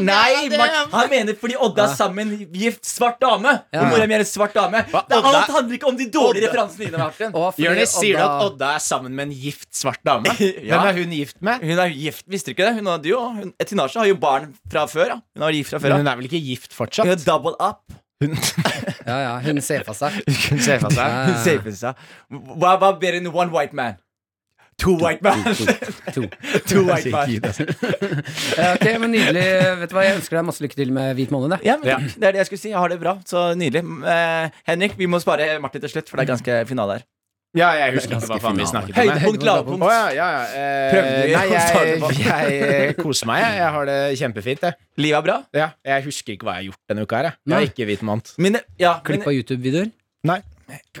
S3: nei Mart- han mener fordi Odda er sammen gift svart dame.
S2: Ja.
S3: Og mora mi er en svart dame. Det,
S4: Odda-
S3: alt handler ikke om de dårlige referansene dine. Martin.
S2: Og fordi
S4: Jonis sier du
S2: Odda-
S4: at Odda er sammen med en gift svart dame?
S3: Ja.
S4: Hvem er hun gift med?
S3: Hun er gift, visste du ikke det? Hun hadde jo, hun, Tinashe har jo barn fra før. Ja. Hun har gift fra før.
S4: Men
S3: Ja.
S4: hun er vel ikke gift
S3: Hun
S4: fortsatt?
S3: er double up.
S4: Hun,
S2: Ja, ja, hun ser for seg.
S4: hun ser for seg
S3: Hun
S2: Ja,
S3: safer seg. Hva hva er bedre enn one white man? Two white man.
S2: to.
S3: Two white man.
S2: Ja, ok, men Nydelig. Vet du hva, Jeg ønsker deg masse lykke til med Hvit måned. jeg.
S3: Ja, men
S4: Ja.
S3: takk. Det er det jeg skulle si. Jeg har det bra. Så nydelig. Eh, Henrik, vi må spare Martin til slutt, for det er ganske finale her.
S4: Ja, jeg husker ikke hva faen vi snakket om. jeg.
S3: Høydepunkt, lavpunkt.
S4: Å ja, ja, ja.
S3: Prøvde
S4: Eh,
S3: vi
S4: nei,
S3: å
S4: jeg,
S3: starte på-
S4: jeg eh, koser meg. Jeg Jeg har det kjempefint. Jeg.
S3: Livet er bra.
S4: Ja, jeg husker ikke hva jeg har gjort denne uka. her jeg. Jeg
S2: Nei.
S4: har ikke hvit måned.
S3: Mine, ja,
S2: Klipp
S3: mine,
S2: av YouTube-videoer.
S4: Nei.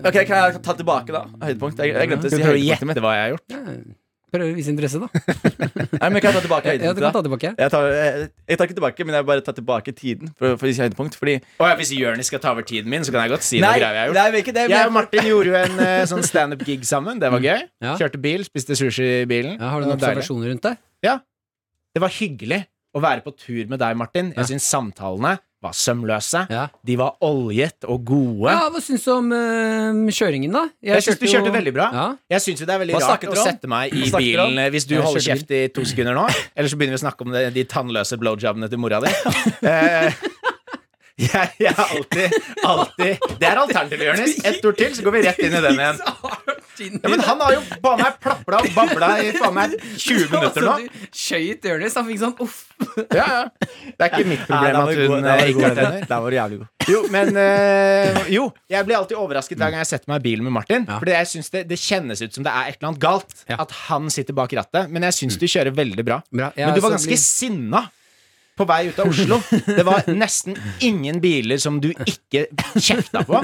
S3: ok, Kan jeg ta tilbake, da? Høydepunkt? Jeg, jeg glemte
S4: Skal
S3: å si
S4: du prøve å
S3: høydepunktet mitt.
S4: gjette hva jeg har gjort?
S2: Ja, Prøv å vise interesse, da.
S3: Nei, men kan jeg ta tilbake
S2: Ja, du kan
S3: høydepunktet?
S2: ta
S3: da?
S2: tilbake.
S3: Jeg tar, jeg, jeg tar ikke tilbake, men jeg bare tar tilbake tiden. For, for å si høydepunkt Fordi
S4: Å ja, Hvis Jonis skal ta over tiden min, så kan jeg godt si noe
S3: Nei,
S4: greier jeg har gjort.
S3: nei, vi er ikke det. men
S4: Jeg og Martin gjorde jo en eh, sånn standup-gig sammen. Det var gøy.
S2: Ja.
S4: Kjørte bil, spiste sushi i bilen.
S2: Ja, har du
S4: Det
S2: noen
S4: var deilig.
S2: observasjoner rundt det?
S4: Det var hyggelig å være på tur med deg, Martin.
S2: Ja.
S4: Jeg syns samtalene var sømløse.
S2: Ja.
S4: De var oljet og gode.
S2: Ja, Hva syns du om eh, kjøringen, da?
S4: Jeg syns du
S2: jo-
S4: kjørte veldig bra.
S2: Ja.
S4: Jeg syns jo det er veldig
S3: Hva
S4: rart
S3: snakket
S4: å
S3: dere om?
S4: sette meg i
S3: Hva snakket dere om?
S4: bilen eh, hvis du
S2: Jeg
S4: holder
S2: kjørte
S4: kjeft i to sekunder nå. Eller så begynner vi å snakke om det, de tannløse blowjobene til mora di. Eh, Jeg, jeg er alltid, alltid Det er alternativet, Jonis. Ett ord til, så går vi rett inn i den igjen. Ja, men han har jo faen meg plapla og babla i faen meg 20 minutter nå.
S2: Skøyt Jonis. Han fikk sånn uff.
S4: Ja, ja. Det er ikke mitt problem at
S3: Nei, der var du god,
S4: hun
S3: der
S4: eh,
S3: var du
S4: ikke
S3: god,
S4: har tenner.
S3: Der var du jævlig god.
S4: Jo, men eh, Jo, jeg blir alltid overrasket hver gang jeg setter meg i bilen med Martin.
S2: Ja.
S4: Fordi jeg synes det, det kjennes ut som det er et eller annet galt.
S2: Ja.
S4: At han sitter bak rattet. Men jeg syns du kjører veldig bra.
S2: Bra. Jeg
S4: Men du var
S2: også
S4: ganske
S2: blir-
S4: sinna på vei ut av Oslo. Det var nesten ingen biler som du ikke kjefta på.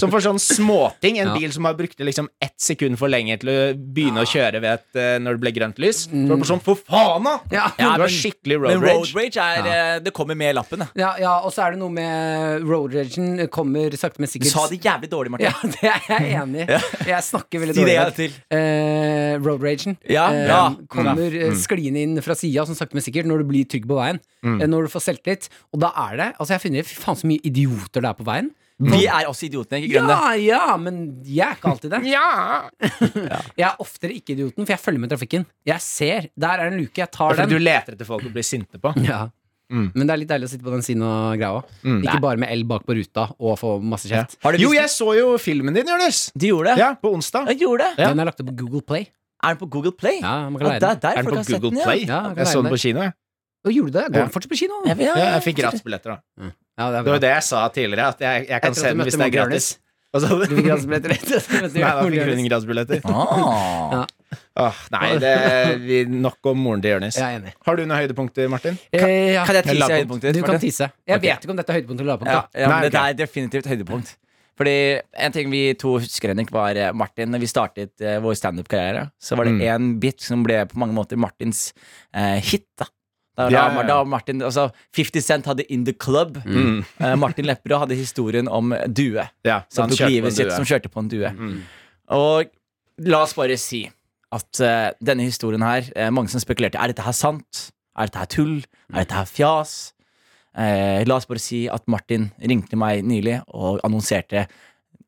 S4: Som for sånn småting.
S2: Ja.
S4: En bil som har brukt liksom ett sekund for lenge til å begynne å kjøre ved et, eh, når det ble grønt lys. Så var det sånn, for faen, da!
S2: Ja.
S4: Du var
S3: Mm. men-
S4: skikkelig road
S3: Men road
S4: rage.
S3: rage er eh, Det kommer med lappen. da.
S2: Ja, ja, og så er det noe med eh, road ragen kommer sakte, men
S3: Du
S2: sikkert.
S3: sa det jævlig dårlig,
S2: Ja,
S3: Martin.
S2: det er jeg enig i. Jeg snakker veldig
S3: Si det
S2: dårlig. i
S3: en
S2: dag.
S3: til.
S2: Eh, road ragen
S3: Ja, Mm.
S2: eh,
S3: bra.
S2: kommer eh, skliende inn fra sida, sånn sakte, men sikkert, når du blir trygg på veien.
S3: Mm.
S2: Eh, når du får selvtillit. Og da er det Altså, jeg finner fy faen så mye idioter det er på veien.
S4: mm.
S3: Vi er også idiotene, ikke glem det.
S2: Ja, ja, men jeg er ikke alltid det.
S4: Ja!
S2: Jeg er oftere ikke idioten, for jeg følger med trafikken. Jeg ser. Der er en luke. Jeg tar den.
S4: Fordi du leter etter folk å bli sinte på.
S2: Ja.
S3: Mm.
S2: Men det er litt deilig å sitte på den siden og greia òg. Ikke bare med L bak på ruta og få masse kjeft.
S3: Har du
S4: Jo,
S3: vist-
S4: jeg så jo filmen din, Jonis.
S3: Du gjorde det?
S4: Ja, på onsdag.
S3: Jeg gjorde det.
S4: Ja.
S2: Den er lagt opp på Google Play.
S3: Er den på Google Play?
S2: Ja, man kan
S3: Ja,
S2: leie
S3: der,
S2: den.
S3: der
S4: Er den
S3: folk
S4: på
S3: har sett
S4: Google
S3: den, ja.
S2: Ja,
S4: Play?
S2: man kan
S4: Jeg
S2: leie
S4: så den
S2: den.
S4: på kino. jeg.
S2: Og gjorde det? Går
S4: Ja.
S2: den fortsatt på kino?
S3: Jeg vet-
S4: Ja,
S3: ja,
S4: jeg fikk gratisbilletter, da.
S2: Ja, det er
S4: Det var
S2: bra.
S4: jo det jeg sa tidligere, at jeg, jeg
S2: Etter
S4: kan
S2: at
S4: se
S2: du
S4: den
S2: møtte
S4: hvis det er
S2: Morten
S4: gratis. Og så-
S2: Du fikk gratisbilletter etter at du møtte
S4: Nei, da fikk
S2: Jonis.
S4: hun gratisbilletter.
S3: Ah.
S2: Ja.
S4: Åh, Nei, det er vi- nok om moren til Jonis.
S2: Jeg er enig.
S4: Har du noen høydepunkter, Martin?
S2: Eh, ja.
S3: Kan jeg tise
S4: Lavpunkt.
S3: høydepunktet?
S2: Du kan
S3: Martin?
S2: tise. Jeg
S3: Ok.
S2: vet ikke om dette er høydepunkt eller lavpunkt.
S3: Ja,
S2: da.
S3: ja men
S4: Nei,
S3: dette
S4: ok.
S3: er definitivt høydepunkt. Fordi En ting vi to husker Henrik, var eh, Martin. Når vi startet eh, vår standup-karriere, så var det
S4: Mm.
S3: én bit som ble på mange måter Martins eh, hit. da da, da,
S4: Ja, ja, ja.
S3: da Martin, altså 50 Cent hadde In The Club.
S4: Mm.
S3: Eh, Martin Lepperød hadde historien om due
S4: Ja,
S3: som,
S4: han
S3: tok
S4: kjørte på
S3: livet
S4: en
S3: sitt,
S4: due.
S3: som kjørte på en due.
S4: Mm.
S3: Og la oss bare si at eh, denne historien her eh, Mange som spekulerte Er dette her sant? Er dette her tull?
S4: Mm.
S3: Er dette her fjas? Eh, la oss bare si at Martin ringte meg nylig og annonserte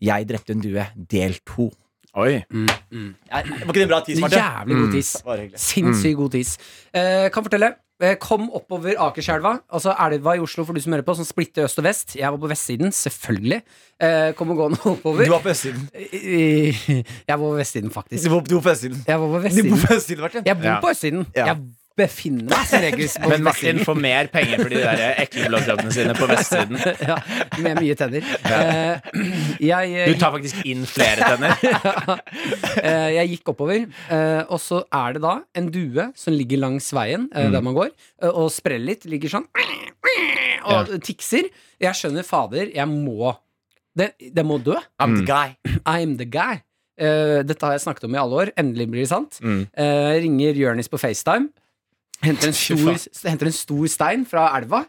S3: 'Jeg drepte en due, del to'.
S4: Oi.
S3: Var ikke det bra tis,
S2: Jævlig god tis.
S3: Bare hyggelig. Mm.
S2: Sinnssykt god tis. Eh, kan fortelle. eh, Kom oppover Akerselva, altså elva i Oslo for du som hører på, som splitter øst og vest. Jeg var på vestsiden, selvfølgelig. Eh, kom og gå nå oppover.
S3: Du var på østsiden.
S2: Eh, Jeg var på vestsiden,
S3: Du
S2: faktisk.
S3: var, du var på østsiden.
S2: Jeg var på
S3: Du var
S2: vestsiden.
S3: på østsiden, Martin.
S2: Jeg bor
S4: Ja.
S2: på østsiden.
S3: Ja.
S2: Jeg befinner meg som regel på
S4: Men
S2: vestsiden.
S4: Martin får mer penger for de der ekle blowjobbene sine på vestsiden.
S2: ja, med mye tenner. Eh, jeg,
S4: Du tar faktisk inn flere tenner.
S2: Eh, jeg gikk oppover, eh, og så er det da en due som ligger langs veien eh, der man går, eh, og spreller litt, ligger sånn og tikser. Jeg skjønner, fader, jeg må Det, det må dø.
S3: I'm
S4: Mm.
S3: the guy.
S2: I'm the guy. Eh, dette har jeg snakket om i alle år. Endelig blir det sant.
S4: Mm.
S2: Eh, ringer Jonis på FaceTime. Henter en
S4: Fy
S2: stor, henter en stor stein fra elva.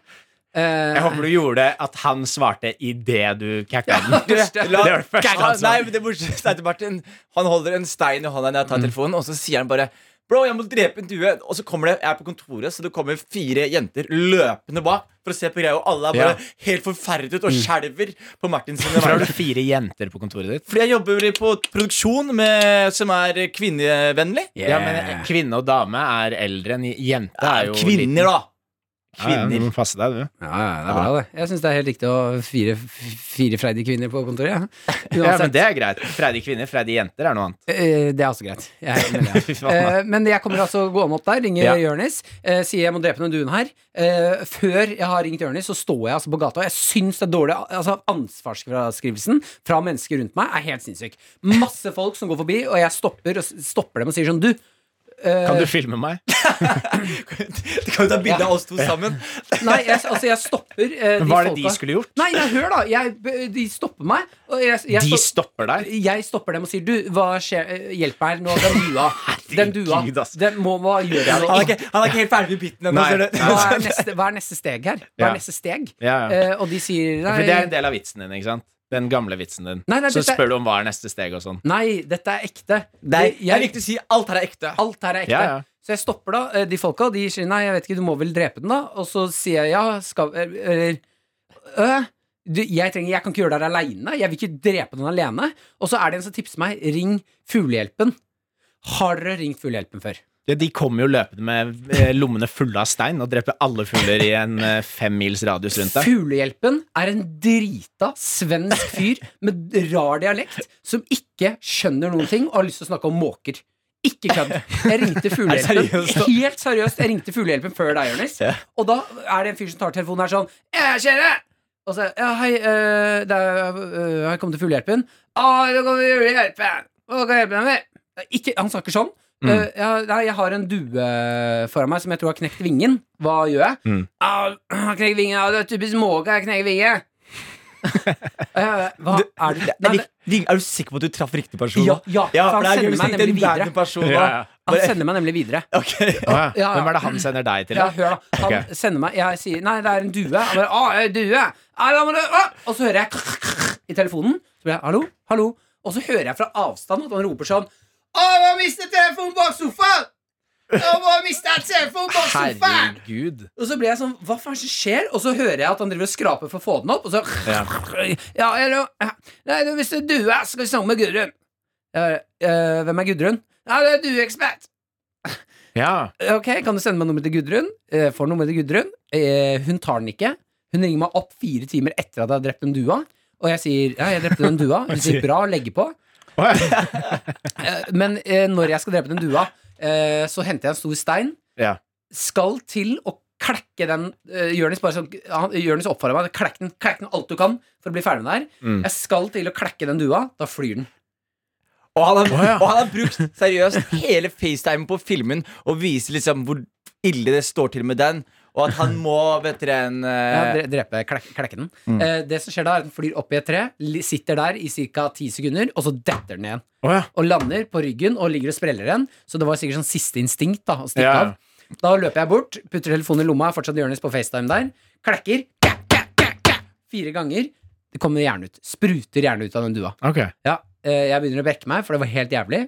S2: Eh,
S4: Jeg håper du gjorde at han svarte idet du kakka den.
S3: Du,
S4: Det var det første
S3: Ah,
S4: han sa.
S3: Nei, men det morsomste er til Martin Han holder en stein i hånda når
S4: Mm.
S3: jeg tar telefonen, og så sier han bare Bro, jeg må drepe en due. Og så kommer det, jeg er på kontoret, så det kommer fire jenter løpende bak for å se på greia, og alle er
S4: Ja.
S3: bare
S4: Mm.
S3: helt forferdet og skjelver på Martin sine
S4: Hvorfor har du
S3: vegne.
S4: fire jenter på kontoret ditt?
S3: Fordi jeg jobber på produksjon med, som er kvinnevennlig.
S4: Ja, men Kvinne og dame er eldre enn jente. er jo
S3: Kvinner,
S4: liten.
S3: da.
S4: Ja, ja, du
S3: Kvinner.
S4: må passe deg, du.
S2: Ja, ja, det er bra, det. Jeg syns det er helt riktig å ha fire, fire freidige kvinner på kontoret. Ja.
S4: Ja, men det er greit. Freidige kvinner, freidige jenter er noe annet.
S2: Eh, Det er også greit. Jeg er enig med deg.
S4: Fy faen,
S2: Eh, Men jeg kommer altså gående opp der, ringer
S4: Ja.
S2: Jonis, eh, sier jeg må drepe den duen her. Eh, Før jeg har ringt Jonis, så står jeg altså på gata, og jeg syns det er dårlig Altså Ansvarsfraskrivelsen fra mennesker rundt meg er helt sinnssyk. Masse folk som går forbi, og jeg stopper, og s- stopper dem og sier sånn Du,
S4: Kan du filme meg?
S3: Du kan jo ta bilde av oss to sammen.
S2: Nei, jeg, altså jeg stopper eh,
S4: Men hva er det
S2: folka-
S4: de skulle gjort?
S2: Nei, nei, hør da, jeg, de stopper meg og jeg, jeg,
S4: De
S2: sto-
S4: stopper deg.
S2: jeg stopper dem og sier Du, hva skjer, eh, hjelp meg her nå Den dua, den dua
S4: Herregud, ass.
S2: den må, Hva gjør jeg nå?
S3: Han er ikke, han er ikke helt ferdig med biten ennå.
S4: Nei.
S3: ser du.
S2: Hva er, neste, hva er neste steg her? Hva
S4: Ja.
S2: er neste steg?
S4: Ja, ja.
S2: Eh, og de sier nei,
S4: For det er en del av vitsen din, ikke sant? Den gamle vitsen din.
S2: Nei, nei,
S4: så
S2: dette er-
S4: spør du om hva er neste steg og sånn.
S2: nei, dette er ekte
S3: Nei,
S2: Det-
S3: jeg likte å si alt her er ekte.
S2: Alt her er ekte.
S4: Ja, ja.
S2: Så jeg stopper da eh, de folka, og de sier nei, jeg vet ikke, du må vel drepe den, da? Og så sier jeg ja, skal Eller øh, du, jeg, trenger, jeg kan ikke gjøre det her aleine. Jeg vil ikke drepe den alene. Og så er det en som tipser meg ring Fuglehjelpen. Har dere ringt Fuglehjelpen før?
S4: Ja, de kommer jo løpende med eh, lommene fulle av stein og dreper alle fugler i en eh, fem mils radius rundt deg.
S2: Fuglehjelpen er en drita svensk fyr med rar dialekt som ikke skjønner noen ting og har lyst til å snakke om måker. Ikke kødd. Jeg ringte Fuglehjelpen.
S4: seriøst, da?
S2: Helt seriøst, jeg ringte Fuglehjelpen før deg, Jonis.
S4: Ja.
S2: Og da er det en fyr som tar telefonen her sånn «Ja, kjære! Og så Ja, hei, eh, det er, eh, har jeg kommet til Fuglehjelpen. Å, da kommer Fuglehjelpen! Hva kan jeg hjelpe deg med? Ikke, han snakker sånn.
S4: Mm.
S2: Eh, ja, nei, jeg har en due foran meg som jeg tror har knekt vingen. Hva gjør jeg?
S4: Mm.
S2: Ah, han knekker vingen. Ah, det er typisk måke, jeg knekker vingen. Eh, hva
S3: Du-
S2: er det
S3: Er,
S2: Nei, men-
S3: er du sikker på at du traff riktig person?
S2: ja,
S3: da?
S2: ja,
S3: Ja,
S2: for
S3: for det
S2: han
S3: er
S2: sender
S3: gøy hvis
S2: meg
S3: det er
S2: nemlig
S3: en
S2: videre.
S3: random person da.
S4: Ja, ja.
S2: Han sender meg nemlig videre.
S3: Ok.
S4: Å, ja.
S2: Ja, ja.
S4: Hvem er det han sender deg til?
S2: Ja,
S4: da?
S2: hør da. Han
S4: Ok.
S2: sender meg Jeg sier nei, det er en due. Han bare å, en due. Nei, da må du å! Og så hører jeg i telefonen. Så blir jeg hallo, hallo. Og så hører jeg fra avstand at han roper sånn Å, jeg har mistet telefonen bak sofaen! Jeg har mistet telefonen bak sofaen!
S4: Herregud.
S2: Og så blir jeg sånn, hva faen er det som skjer? Og så hører jeg at han driver og skraper for å få den opp, og så
S4: Ja.
S2: Ja, eller Nei, du, hvis det er due, så skal vi snakke med Gudrun. Jeg bare, «Eh, hvem er Gudrun? Nei, det er dueekspert.
S4: Ja.
S2: Ok, kan du sende meg nummeret til Gudrun? Eh, får nummeret til Gudrun. Eh, hun tar den ikke. Hun ringer meg opp fire timer etter at jeg har drept den dua. Og jeg sier ja, jeg drepte den dua. Hun sier bra, legge på.
S4: Å, ja.
S2: Eh, men eh, når jeg skal drepe den dua, eh, så henter jeg en stor stein.
S4: Ja.
S2: Skal til å klekke den eh, Jonis bare sånn han- Jonis oppfordrer meg klekk den, klekk den alt du kan for å bli ferdig med det her.
S4: Mm.
S2: Jeg skal til å klekke den dua. Da flyr den.
S3: Og han, har,
S4: Å, ja.
S3: og han har brukt seriøst hele FaceTime på filmen og viser liksom hvor ille det står til med den, og at han må vet dere en
S2: Ja,
S3: eh,
S2: dre- drepe, klekke, klekke den. Eh, det som skjer da, er at den flyr opp i et tre, li- sitter der i ca. ti sekunder, og så detter den igjen.
S4: Å, ja.
S2: og lander på ryggen og ligger og spreller igjen. Så det var sikkert sånn siste instinkt da, å stikke
S4: Ja.
S2: av. Da løper jeg bort, putter telefonen i lomma, er fortsatt Jonis på FaceTime der. Klekker. Kæ, kæ, kæ, kæ. Fire ganger. Det kommer hjerne ut. Spruter hjerne ut av den dua.
S4: Ok.
S2: Ja, eh, jeg begynner å brekke meg, for det var helt jævlig.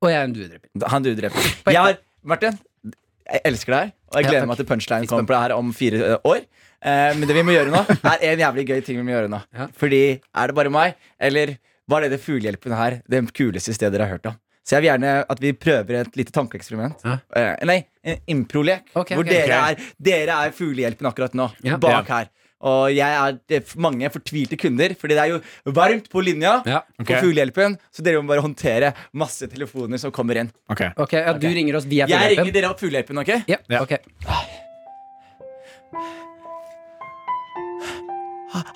S2: Og jeg er en duedreper.
S3: Han du dreper. Jeg har, Martin, jeg elsker deg, og jeg
S2: Ja,
S3: gleder
S2: takk.
S3: meg til punchline kommer på det her om fire ø, år. Eh, men det vi må gjøre nå, er en jævlig gøy ting vi må gjøre nå.
S2: Ja.
S3: Fordi er det bare meg, eller var det det fuglehjelpen her det kuleste stedet dere har hørt om? Så jeg vil gjerne at vi prøver et lite tankeeksperiment.
S2: Ja.
S3: Eh, nei, en improlek.
S2: Ok,
S3: hvor
S2: ok.
S3: dere
S4: Ok.
S3: er, dere er fuglehjelpen akkurat nå.
S2: Ja.
S3: Bak her. Og jeg er det er mange fortvilte kunder, Fordi det er jo varmt på linja
S2: Ja,
S4: ok.
S3: på Fuglehjelpen. Så dere må bare håndtere masse telefoner som kommer inn.
S4: Ok.
S2: Ok, ja, du ringer oss via
S3: Jeg ringer
S2: Fuglehjelpen.
S3: dere opp fuglehjelpen, ok?
S2: Ja,
S4: Ja.
S2: ok.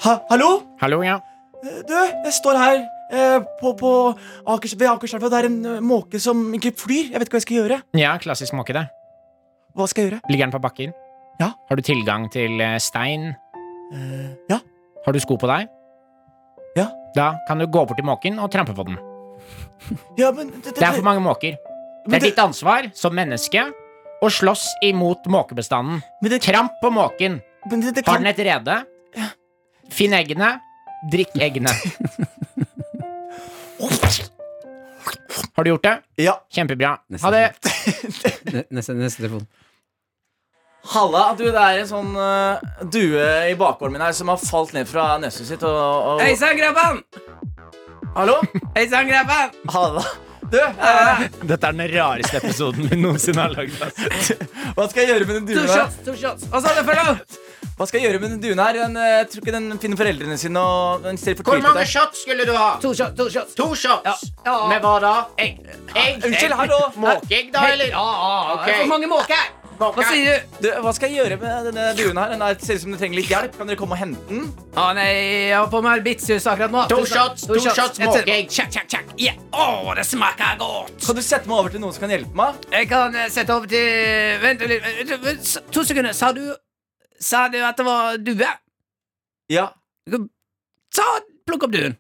S3: Ha Hallo?
S4: Hallo, ja.
S3: Du, jeg står her eh, på, på Akers ved Akerselva. Det er en eh, måke som ikke flyr. Jeg vet ikke hva jeg skal gjøre.
S5: Ja, klassisk måke, det.
S3: Hva skal jeg gjøre?
S5: Ligger den på bakken?
S3: Ja.
S5: Har du tilgang til eh, stein?
S3: ja.
S5: Har du sko på deg?
S3: Ja.
S5: Da kan du gå bort til måken og trampe på den.
S3: Ja, men det,
S5: Det er for mange måker. Det
S3: men
S5: er ditt ansvar som menneske å slåss imot måkebestanden.
S3: men det-
S5: Tramp på måken.
S3: men det, det
S5: Har
S3: kan,
S5: den et rede? Finn eggene. Drikk eggene. Har du gjort det?
S3: Ja.
S5: Kjempebra. Ha det.
S2: Ne- Neste, neste telefon.
S3: Halla, du, det er en sånn eh, due i bakgården min her som har falt ned fra neset sitt og, og
S2: Hei sann, grabban!
S3: Hallo?
S2: Hei sann, grabban!
S3: Halla. Du, eh,
S4: Dette er den rareste episoden vi noensinne har lagd. altså. ass.
S3: hva skal jeg gjøre med den
S2: To
S3: duen her?
S2: shots, to shots. Hva sa du for noe?
S3: Hva skal jeg gjøre med den duen her? Den, eh, jeg tror ikke den finner foreldrene sine. Og den ser
S5: Hvor
S3: fortvilet
S5: mange
S3: ut.
S5: shots skulle du ha?
S2: To shots, to shots.
S5: To shots.
S2: Ja.
S5: Med hva da? Egg. Egg.
S3: Ah, Unnskyld, hallo.
S5: Måkeegg, da, eller? Ja,
S2: For mange måker. Hva sier du?
S3: Du, hva skal jeg gjøre med denne duen her? Den er, ser ut som den trenger litt hjelp. Kan dere komme og hente den?
S2: Å
S5: Ah,
S2: nei, jeg har på meg arbeidsjus akkurat nå.
S5: To shots, to shots,
S2: Jeg ser-
S5: måkeegg.
S2: Tjakk, tjakk, tjakk. Yeah. Å, det smaker godt.
S3: Kan du sette meg over til noen som kan hjelpe meg?
S2: Jeg kan eh, sette over til Vent litt. eh, vent, s- To sekunder. Sa du Sa du at det var due?
S3: Ja.
S2: Ta, plukk opp duen.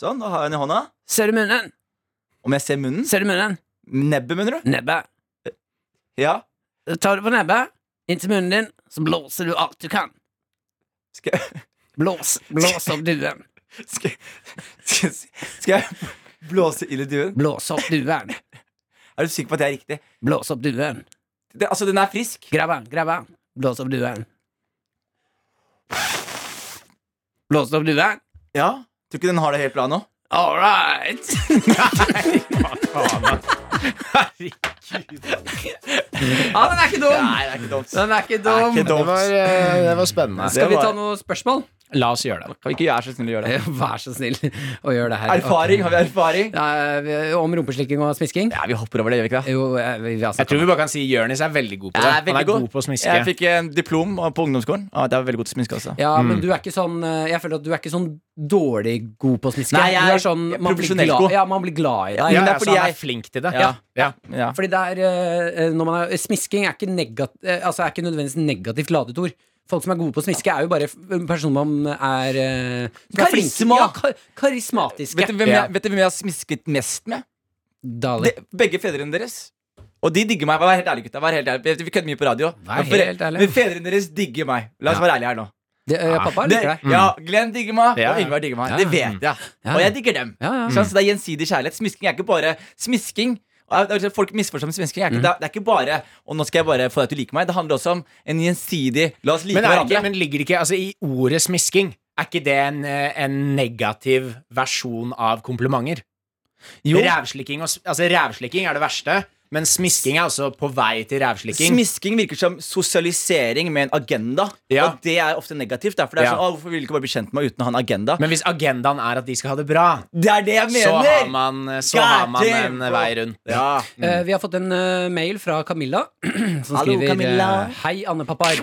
S3: Sånn, da har jeg den i hånda.
S2: Ser du munnen?
S3: Om jeg ser munnen?
S2: Ser du munnen?
S3: Nebbet, mener du? Eh,
S2: Nebbet.
S3: Ja.
S2: Tar du på nebbet, inntil munnen din, så blåser du alt du kan.
S3: Skal jeg,
S2: Blås, blås opp duen.
S3: skal, jeg, skal jeg blåse ild i duen?
S2: Blås opp duen.
S3: Er du sikker på at det er riktig?
S2: Blås opp duen.
S3: Det, altså, den er frisk.
S2: Grabba, grabba, blås opp duen. Blås opp duen.
S3: Ja. Tror ikke den har det helt bra nå.
S2: All right. Ja, den er ikke dum.
S3: det er ikke dumt.
S2: Den er ikke
S3: Det er
S2: dum.
S3: ikke dumt.
S4: eh, det var spennende.
S2: Skal vi
S3: var-
S2: ta noen spørsmål?
S4: La oss gjøre det.
S3: Kan vi ikke gjøre så snill å gjøre det?
S2: Vær så snill og gjør det her.
S3: Erfaring, har vi erfaring?
S2: Ja, vi- om rumpeslikking og smisking?
S3: Ja, vi hopper over det, gjør vi ikke det?
S2: Jo, eh, vi, vi har
S4: Jeg
S2: snakket
S4: tror
S2: om
S4: vi bare kan si Jonis er veldig god på det.
S3: Jeg er
S4: Han
S3: veldig
S4: er god
S3: god.
S4: på å smiske.
S3: Jeg fikk en diplom på ungdomsskolen. Ja, det var veldig godt å sminke også.
S2: ja, men du er ikke sånn eh, Jeg føler at du er ikke sånn dårlig god på å smiske.
S3: Nei, jeg
S2: du
S3: er
S2: er sånn, man blir
S3: profesjonelt
S2: glad-
S3: god.
S2: Ja, man blir glad i deg.
S4: Ja,
S3: Men det er
S4: altså,
S3: fordi
S4: han
S3: jeg-
S4: er flink til det.
S3: Ja.
S4: Ja.
S3: Ja.
S2: Fordi det er eh, når man er, Smisking er ikke, negat, eh, altså er ikke nødvendigvis negativt ladet ord. Folk som er gode på å smiske, er jo bare f- personer man er eh, som er flinke-
S3: Karisma.
S2: Ja, kar karismatiske.
S3: Vet du, hvem
S4: Ja.
S3: jeg, vet du hvem jeg har smisket mest med?
S2: Dali.
S3: De, begge fedrene deres. Og de digger meg. Vær helt ærlig, gutta. Vær helt ærlig. Vi kødder mye på radio.
S2: Vær
S3: Men fore-
S2: helt ærlig.
S3: Men fedrene deres digger meg. La oss være ærlige her nå.
S2: Det, eh, pappa
S3: Ah, Det,
S2: liker deg.
S3: ja, Glenn digger meg,
S4: Ja,
S3: og
S4: ja.
S3: Yngvar digger meg.
S2: Ja,
S3: Det
S2: ja.
S3: vet jeg.
S2: Ja, ja.
S3: Og jeg digger dem.
S2: Ja, ja.
S3: Sånn, så det er gjensidig kjærlighet. Smisking er ikke bare smisking. Og det er- altså, Folk misforstår med smisking. Det er, ikke, det er- det er ikke bare Og nå skal jeg bare få deg til å like meg. Det handler også om en gjensidig La oss like
S4: Men, er det
S3: hverandre.
S4: ikke, men ligger det ikke altså, i ordet smisking? Er ikke det en, eh, en negativ versjon av komplimenter?
S3: Jo.
S4: Rævslikking, og, s- altså, rævslikking er det verste, men smisking er også på vei til rævslikking.
S3: Smisking virker som sosialisering med en agenda.
S4: Ja.
S3: Og det er ofte negativt. Derfor det er
S4: Ja.
S3: sånn, «Å, Hvorfor vil du ikke bare bli kjent med meg uten å ha en agenda?
S4: men hvis agendaen er at de skal ha det bra,
S3: det er det jeg
S4: så
S3: mener!
S4: har man, eh, så har man en
S3: Goddamn, bro.
S4: vei rundt.
S3: Ja. Mm.
S2: Eh, vi har fått en eh, mail fra Camilla som
S3: Hallo,
S2: skriver
S3: Camilla.
S2: eh, Hei, Anne Pappar.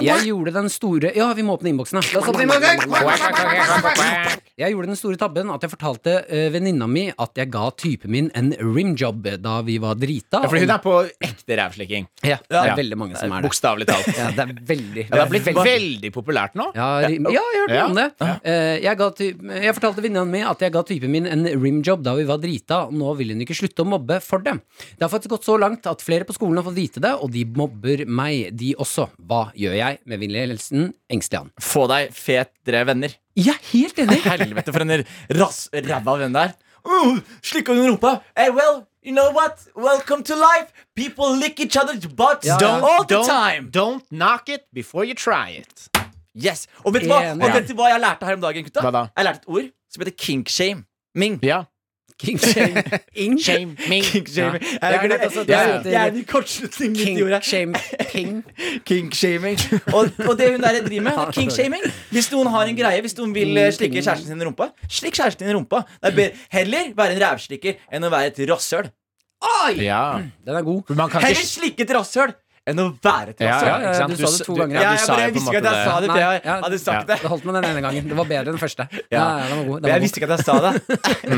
S2: Jeg gjorde den store Ja, vi må åpne innboksen, da. La oss åpne innboksen. Jeg gjorde den store tabben at jeg fortalte eh, venninna mi at jeg ga typen min en rimjob da vi var drita.
S4: Ja, fordi hun er på ekte rævslikking.
S2: Ja, det er
S4: Ja.
S2: veldig mange som er det.
S4: Bokstavelig talt.
S2: Ja, det er veldig
S4: Ja, det har blitt veldig populært nå.
S2: ja, rim, ja, jeg hørte
S4: Ja.
S2: om det. Eh, jeg, ga ty jeg fortalte venninnen min at jeg ga typen min en rimjob da vi var drita, og nå vil hun ikke slutte å mobbe for det. Det har faktisk gått så langt at flere på skolen har fått vite det, og de mobber meg, de også. Hva gjør jeg? Med vennlig hilsen Engstlian.
S3: Få deg fetere venner.
S2: Jeg er helt enig.
S3: Helvete, for en rass ræva venn der. Uh, Slikka under rumpa. Hey, well, you know what? Welcome to life. People lick each other's butts
S4: Uh,
S2: Ja, ja.
S3: all the
S4: Don't,
S3: time.
S4: don't knock it before you try it.
S3: Yes. Og vet du hva?
S2: Enig.
S3: Og vet du hva jeg lærte her om dagen, gutta?
S4: Hva da?
S3: Jeg lærte et ord som heter kinkshame. Ming.
S4: Ja.
S2: King shame. Ing.
S4: Shame me.
S3: Kinkshaming.
S2: Ja.
S3: Jeg,
S2: Jeg
S3: jeg,
S2: har hørt også at
S3: jeg,
S2: det
S3: jeg,
S2: heter-
S3: er en kortslutning midt i
S2: King
S3: jorda.
S2: shame. Ping.
S3: Kinkshaming. Og, og det hun der driver med, er kinkshaming. Hvis noen har en greie, hvis noen vil eh, slikke kjæresten sin i rumpa, slikk kjæresten din i rumpa. Det er be- heller være en rævslikker enn å være et rasshøl.
S4: Ja.
S2: Den er god.
S4: Man kan
S3: Heller
S4: ikke
S3: slikke et rasshøl enn å være et
S4: Ja,
S3: rasshøl.
S2: ja,
S4: ikke sant?
S2: du sa det to
S4: s-
S2: ganger.
S4: Ja, du
S3: Ja, jeg
S4: sa
S3: bare
S4: jo på
S3: jeg
S4: en
S3: visste ikke
S4: måte
S3: at jeg sa
S4: det.
S3: det. for Jeg hadde sagt det.
S2: Det holdt med den ene gangen. Det var bedre enn den første. Ja,
S3: Ja.
S2: ja, den var god. Den var
S3: Jeg
S2: god.
S3: visste ikke at jeg sa det.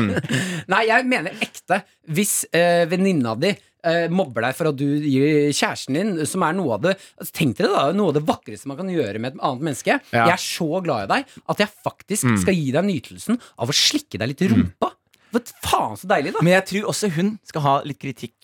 S2: Nei, jeg mener ekte. Hvis eh, venninna di eh, mobber deg for at du gir kjæresten din, som er noe av det altså, Tenk dere da, noe av det vakreste man kan gjøre med et annet menneske.
S4: Ja.
S2: Jeg er så glad i deg at jeg faktisk
S3: Mm.
S2: skal gi deg nytelsen av å slikke deg litt i rumpa. Hva faen så deilig, da!
S3: Men jeg tror også hun skal ha litt kritikk.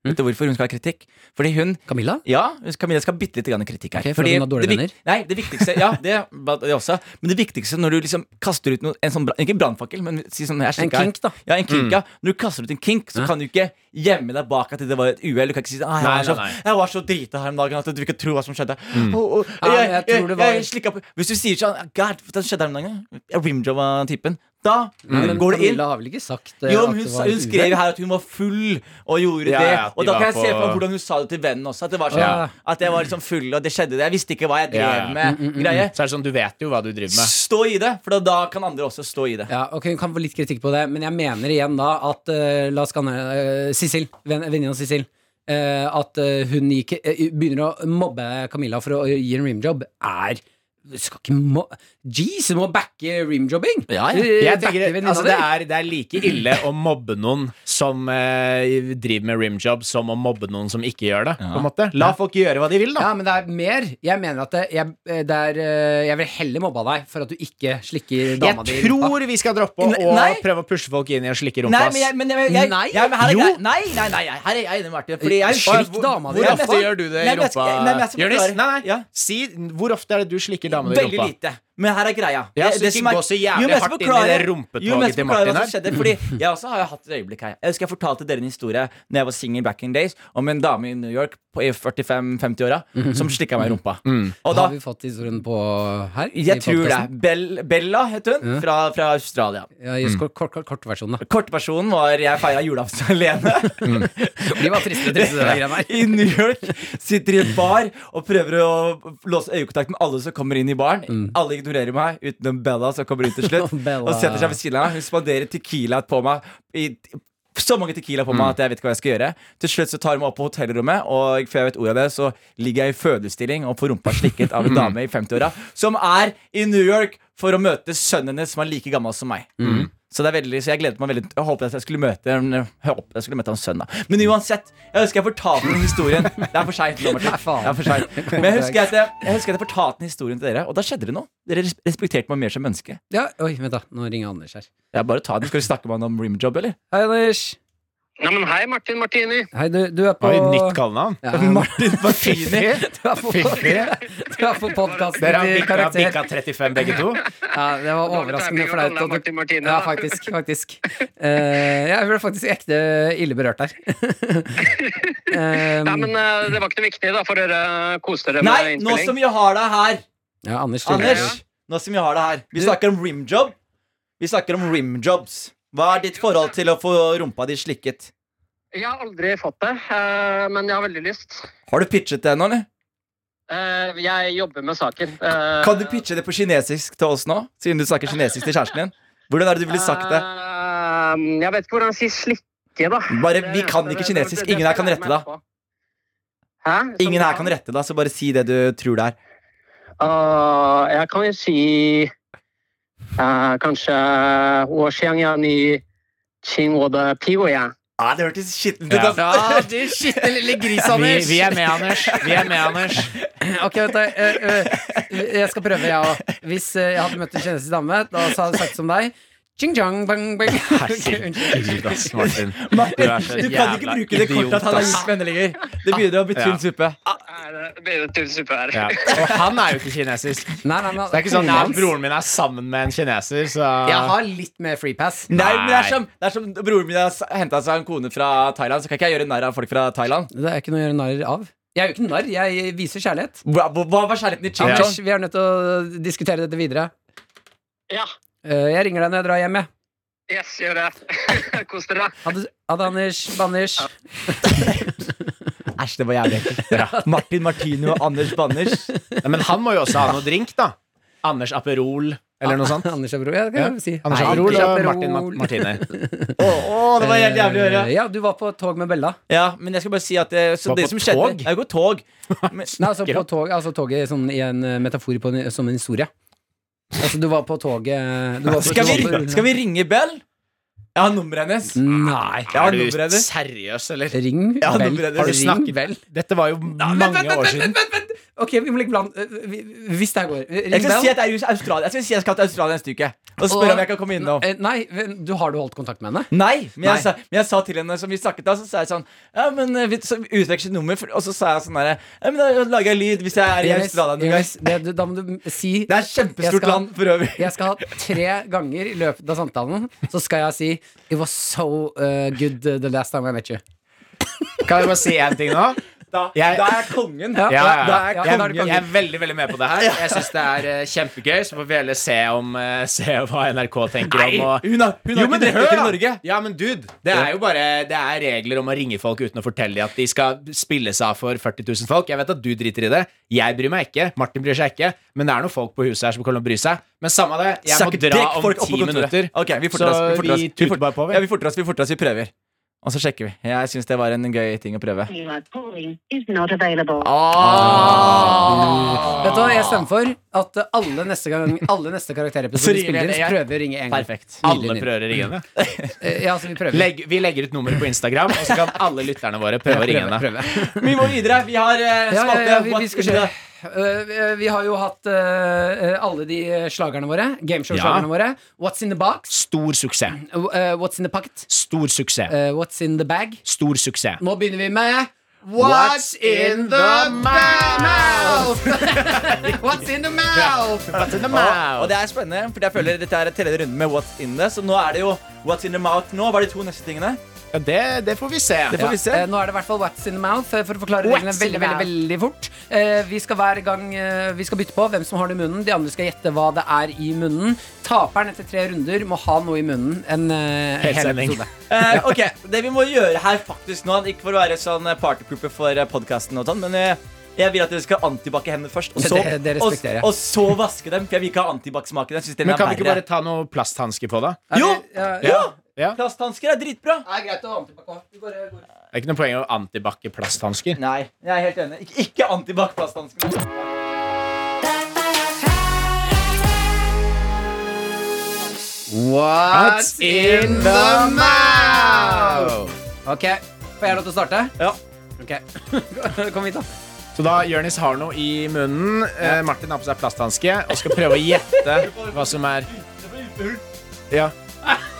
S3: Vet
S2: Hm?
S3: du hvorfor hun skal ha kritikk? Fordi hun
S2: Camilla?
S3: Ja, Camilla skal ha bitte litt grann kritikk her.
S2: Ok, for at hun har dårlige
S3: det, vik-
S2: venner?
S3: Nei, det viktigste Ja, det, det også. Men det viktigste når du liksom kaster ut noe, en sånn bra- Ikke brannfakkel, men si sånn jeg slikker her.
S2: kink, da.
S3: Ja, en kink,
S4: Mm.
S3: ja. Når du kaster ut en kink, så kan du ikke gjemme deg bak at det var et uhell. Du kan ikke si sånn «Ah, jeg,
S4: Nei,
S3: var så,
S4: nei, nei.
S3: jeg var så drita her om dagen at du ikke tror hva som skjedde. Å, å,
S2: Mm. Ja, men jeg
S3: jeg, jeg,
S2: tror det
S3: jeg,
S2: var-
S3: «Ah, slikka på Hvis du sier sånn God, hva skjedde her om dagen? Jeg rimjobba typen. Da
S2: Men
S3: går det inn.
S2: Camilla har vel ikke sagt eh,
S3: Jo,
S2: at
S3: men hun,
S2: det
S3: sa-
S2: var et
S3: hun skrev
S2: uhell?
S3: her at hun var full og gjorde
S4: Ja,
S3: det.
S4: ja, at de
S3: Og da
S4: var
S3: kan jeg
S4: på-
S3: se for meg hvordan hun sa det til vennen også. At det var sånn,
S2: Ja. Mm,
S3: at jeg var liksom full, og det skjedde det. Jeg visste ikke hva jeg drev
S4: Ja, ja.
S3: med. Greie.
S4: Så er det sånn, du vet jo hva du driver med.
S3: Stå i det, for da, da kan andre også stå i det.
S2: Ja, ok, Hun kan få litt kritikk på det, men jeg mener igjen da at eh, La oss kalle henne Sissel. venn- Venninna Sissel. eh, at eh, hun gikk, eh, begynner å mobbe Camilla for å gi en rimjob, er Du skal ikke mo... Jeez, du må backe rimjobbing!
S3: Ja, ja.
S2: Eh,
S4: Jeg
S2: backe
S4: tenker,
S2: venninna
S4: altså, det,
S2: di.
S4: er, det er like ille å mobbe noen som eh, driver med rimjob, som å mobbe noen som ikke gjør det. På en måte. La folk gjøre hva de vil, da.
S2: Ja, men det er mer. Jeg mener at det, jeg, eh, det er, eh, jeg vil heller mobbe deg for at du ikke slikker dama di. i
S4: Jeg
S2: rumpa.
S4: tror vi skal droppe å
S3: Nei.
S4: prøve å pushe folk inn i å slikke rumpa.
S3: Nei,
S4: ass.
S3: men jeg, men jeg, jeg,
S2: Nei.
S3: ja, men her er
S4: Jo.
S3: grei- nei, nei, nei, nei, her er jeg enig med Martin. Fordi jeg,
S2: Slikk
S3: hvor-
S2: dama di,
S3: hvor
S2: i
S4: Hvor
S3: ofte
S4: ofte gjør du det
S3: Nei,
S4: i
S3: men jeg
S4: rumpa?
S3: skal- nei, men jeg skal
S4: Jonis,
S3: forklare.
S4: nei, nei.
S3: Ja.
S4: Si hvor ofte er det du slikker damer i
S3: Veldig
S4: rumpa?
S3: lite. Men her er greia.
S4: Ja, så ikke gå så jævlig
S3: Jo, men jeg skal
S4: hardt inn i
S3: forklare-
S4: det rumpetoget
S3: jo, men jeg
S4: til
S3: skal forklare
S4: Martin
S3: hva som skjedde, Fordi Jeg også har jo hatt et øyeblikk her. Jeg husker jeg fortalte dere en historie Når jeg var singel back in days, om en dame i New York på- i 45-50-åra som slikka meg i rumpa.
S4: Mm.
S3: Og da
S2: Mhm. Har vi fått historien på her? i
S3: Jeg tror
S2: podcasten?
S3: det. Bell, Bella het hun, fra, fra Australia.
S2: Ja, i kort, kort, kort, kortversjonen, da.
S3: Kortversjonen var jeg feira julaften alene.
S2: De var triste, triste, de greiene her.
S3: I New York sitter i et bar og prøver å låse øyekontakt med alle som kommer inn i baren. Alle ignorerer meg, utenom Bella, som kommer inn til slutt.
S2: Mm. Bella.
S3: og setter seg ved siden av meg. Hun spanderer Tequila på meg. I, så mange Tequila på meg at jeg vet ikke hva jeg skal gjøre. Til slutt så tar hun meg opp på hotellrommet, og før jeg vet ordet av det, så ligger jeg i fødestilling og får rumpa slikket av en dame i 50-åra som er i New York for å møte sønnen hennes, som er like gammel som meg. Mm. Så, det er veldig, så jeg gledet meg veldig Jeg håpet at jeg skulle møte Jeg håpet jeg skulle møte hans sønn. da Men uansett, jeg husker jeg fortalte den historien. Det er for seint. nå, Martin.
S2: Nei, faen.
S3: Det er for sent. Men jeg husker, at jeg, jeg husker at jeg fortalte den historien til dere, og da skjedde det noe. Dere res- respekterte meg mer som menneske.
S2: Ja, oi, vent da, nå ringer Anders her
S3: Jeg bare ta den. Skal vi snakke med han om rimjob, eller?
S2: Hei Anders,
S6: Ja, men hei, Martin Martini.
S2: hei du, du er på
S4: Oi, nytt kallenavn.
S2: ja,
S3: Martin Martini.
S2: Du er på, du er på podcasten
S4: Dere har
S2: til
S4: bikka,
S2: karakter
S4: bikka 35 begge to.
S2: ja, Det var overraskende
S6: Dårlig timing å
S2: for deg
S6: kalle deg Martin Martini,
S2: Ja,
S6: da.
S2: faktisk, faktisk Eh, Jeg ble faktisk ekte ille berørt der
S6: Nei, men eh, det var ikke noe viktig da, for dere koste dere
S3: Nei,
S6: med
S3: nå som
S6: innspilling.
S3: jeg har deg her,
S2: Ja, Anders, du-
S3: Anders. Nå som jeg har deg her Vi snakker om rimjob. Vi snakker om rimjobs. Hva er ditt forhold til å få rumpa di slikket?
S6: Jeg har aldri fått det, eh, men jeg har veldig lyst.
S3: Har du pitchet det ennå, eller?
S6: Eh, Jeg jobber med saken. Eh,
S3: Kan du pitche det på kinesisk til oss nå? Siden du snakker kinesisk til kjæresten din? Hvordan er det du ville sagt det?
S6: eh, Jeg vet ikke hvordan jeg sier slikke, da.
S3: Bare, Eh, vi kan ikke kinesisk. Ingen her kan rette deg.
S6: Hæ?
S3: Ingen her kan rette deg, så bare si det du tror det er.
S6: Eh, jeg kan jo si eh, kanskje Åsjiangjani Qingwode Pigoya.
S3: Ah, det hørtes skittent
S4: Ja.
S3: ut. ass.
S2: Ja, du skitne lille gris,
S4: Vi,
S2: Anders
S4: vi er med, Anders. Vi er med, Anders.
S2: Ok, vet du, eh, eh, jeg skal prøve, jeg også. Hvis eh, jeg hadde møtt en kinesisk dame, da hadde jeg sagt som deg Ching chang, bang, bang
S4: Herregud, ass, Martin.
S3: Martin,
S4: er så
S3: du kan ikke
S4: jævla
S3: bruke det kortet at han
S4: idiot,
S3: har
S4: ass.
S3: gjort vennelinger. Det begynner å bli
S4: Ja.
S3: tynn suppe.
S6: Nei, det blir et tullsuppe her.
S4: Ja. Og han er jo ikke kinesisk. Så
S2: Nei, nei, nei
S4: det er ikke sånn at broren min er sammen med en kineser, så
S2: Jeg har litt mer free pass
S3: Nei, men det er
S4: Nei.
S3: som, det er som broren min har henta seg en kone fra Thailand, så kan ikke jeg gjøre narr av folk fra Thailand.
S2: Det er ikke noe å gjøre narr av. Jeg er jo ikke narr, jeg viser kjærlighet.
S3: Hva, hva var kjærligheten i Ching
S2: Anders,
S3: Chong?
S2: vi er nødt til å diskutere dette videre.
S6: Ja,
S2: Eh, Jeg ringer deg når jeg drar hjem, jeg.
S6: yes, gjør det. Kos dere.
S2: Ha det- ha det, Anders. Banners.
S3: Æsj, det var jævlig ekkelt. Martin Martino og Anders Banners.
S4: Nei, Men han må jo også ha noe drink, da. Anders Aperol eller noe sånt.
S2: Anders Aperol, ja, det kan
S4: Ja.
S2: jeg si.
S4: Anders
S2: Nei,
S4: Aperol
S2: ikke
S4: og
S2: Aperol.
S4: Martin Ma- Martini.
S3: Å, å, det var helt jævlig å høre.
S2: Eh, Ja, du var på tog med Bella.
S3: Ja, men jeg skal bare si at det, så
S4: Var
S3: det
S4: på
S3: som skjedde
S4: tog?
S3: Jeg går tog. Men,
S2: Nei, altså på tog, altså toget sånn, i en eh, metafor på en, som en historie. Altså, du var på toget du var på,
S3: skal,
S2: du var
S3: vi,
S2: på-
S3: skal vi ringe Bell? Jeg har nummeret hennes.
S2: Nei.
S3: Jeg har
S4: Er
S3: nummeret
S4: du
S3: hennes.
S4: seriøs, eller?
S2: Ring
S3: Ja,
S2: vel.
S3: nummeret hennes.
S4: Har du
S2: Ring
S4: snakket-
S2: vel.
S4: Dette var jo mange år siden.
S2: Ok, vi må legge plan eh, vi- Hvis det her går. Ring
S3: Jeg skal
S2: Bell.
S3: si at jeg, er i Australia. jeg skal si jeg skal til Australia neste uke og spørre om jeg kan komme innom.
S2: Eh, Nei, men du har du holdt kontakt med henne?
S3: Nei, men
S2: Nei.
S3: jeg, Sa, men jeg sa til henne som vi snakket da, så sa jeg sånn Ja, men eh, vi så vi utvekslet nummer, for- og så sa jeg sånn derre Ja, men da lager jeg lyd hvis jeg er i
S2: Jonis,
S3: Australia noen gang.
S2: Jonis, det, du, da må du si
S3: Det er et
S2: Jeg
S3: kjempestort
S2: skal-
S3: land for øvrig.
S2: jeg skal ha tre ganger i løpet av samtalen Så skal jeg si It was so uh, good uh, the eh, last time I met you
S4: Kan jeg bare si én ting nå?
S3: Da,
S4: Jeg-
S3: da er jeg kongen.
S2: Ja.
S4: Ja, ja,
S3: Da
S4: ja.
S3: er jeg
S4: Jeg,
S3: kongen.
S4: jeg er veldig veldig med på det her. Jeg syns det er eh, kjempegøy. Så får vi heller se, om, eh, se hva NRK tenker om. Og...
S3: Hun har, hun har ikke drukket til Norge.
S4: Ja, men dude, det er jo bare Det er regler om å ringe folk uten å fortelle dem at de skal spille seg av for 40 000 folk. Jeg vet at du driter i det. Jeg bryr meg ikke. Martin bryr seg ikke. Men det er noen folk på huset her som kommer til å bry seg. Men samme det. Jeg
S3: Suck
S4: må dra
S3: dick, folk
S4: om
S3: opp på
S4: ti
S3: kontoret.
S4: minutter.
S3: Ok, vi forter oss.
S4: Så
S3: Vi forter
S4: vi
S3: oss. Vi
S4: tuter
S3: fort-
S4: bare på, vi.
S3: Ja, vi forter oss, vi forter oss, vi prøver. Og så sjekker vi. Jeg syns det var en gøy ting å prøve.
S7: you are calling is not available.
S3: Ah.
S4: Ah.
S2: Vet du hva, jeg stemmer for at eh, alle neste, gang, alle neste karakterepisoder vi
S4: Så ringer
S2: spiller inn,
S4: jeg-
S2: prøver å ringe en gang.
S4: Perfekt.
S2: Nydelig,
S4: Alle
S2: nydelig.
S4: prøver å ringe henne.
S2: Eh, Ja, altså, vi prøver.
S4: Legg, vi legger ut nummeret på Instagram, og så kan alle lytterne våre prøve å ringe henne.
S2: Prøve.
S3: Vi må videre. Vi har uh,
S2: Ja, ja, ja, vi, vi skal se. Eh, vi har jo hatt eh, alle de slagerne våre. Gameshow-slagerne våre. What's in the box?
S4: Stor suksess.
S2: Eh, what's in the pocket?
S4: Stor suksess.
S2: Eh, what's in the bag?
S4: Stor suksess.
S2: Nå begynner vi med
S4: What's in the mouth?
S2: What's in the mouth?
S4: What's in the
S3: Og, og
S4: mouth?
S3: det er spennende, for jeg føler dette er tredje runde med What's in the. Så nå er det jo What's in the mouth nå. Hva er de to neste tingene?
S4: Ja, det, det får vi se.
S3: Det får vi se.
S2: Eh, nå er det i hvert fall What's in the mouth, eh, for å forklare
S4: What's
S2: reglene
S4: in the
S2: veldig, veldig, veldig fort. Eh, vi skal hver gang eh, vi skal bytte på hvem som har det i munnen. De andre skal gjette hva det er i munnen. Taperen etter tre runder må ha noe i munnen. En eh,
S4: Hel
S2: hel
S4: sending.
S2: episode.
S3: Eh, ok, Det vi må gjøre her faktisk nå, ikke for å være sånn eh, partypooper for podkasten, og sånn, men eh, jeg vil at dere skal antibac hendene først. Og
S2: Det-
S3: så,
S2: det- det
S3: og,
S2: respekterer jeg.
S3: og så vaske dem. For jeg vil ikke ha antibac-smaken. Jeg synes den
S4: Men
S3: er
S4: kan vi ikke bare
S3: verre.
S4: ta noe plasthansker på, da?
S2: Er
S3: Jo!
S2: det- Eh, ja,
S3: Ja!
S4: Ja.
S3: Plasthansker er dritbra.
S2: Det er greit å ha den tilbake. Vi går, går.
S4: Det er ikke noe poeng å antibac plasthansker.
S3: Nei, jeg er helt enig. Ikke, ikke antibac-plasthansker.
S2: What's in the mouth? Ok, får jeg lov til å starte?
S3: Ja.
S2: Ok, kom hit da
S4: Så da Jonis har noe i munnen. Eh, Martin har på seg plasthanske og skal prøve å gjette hva som er Ja.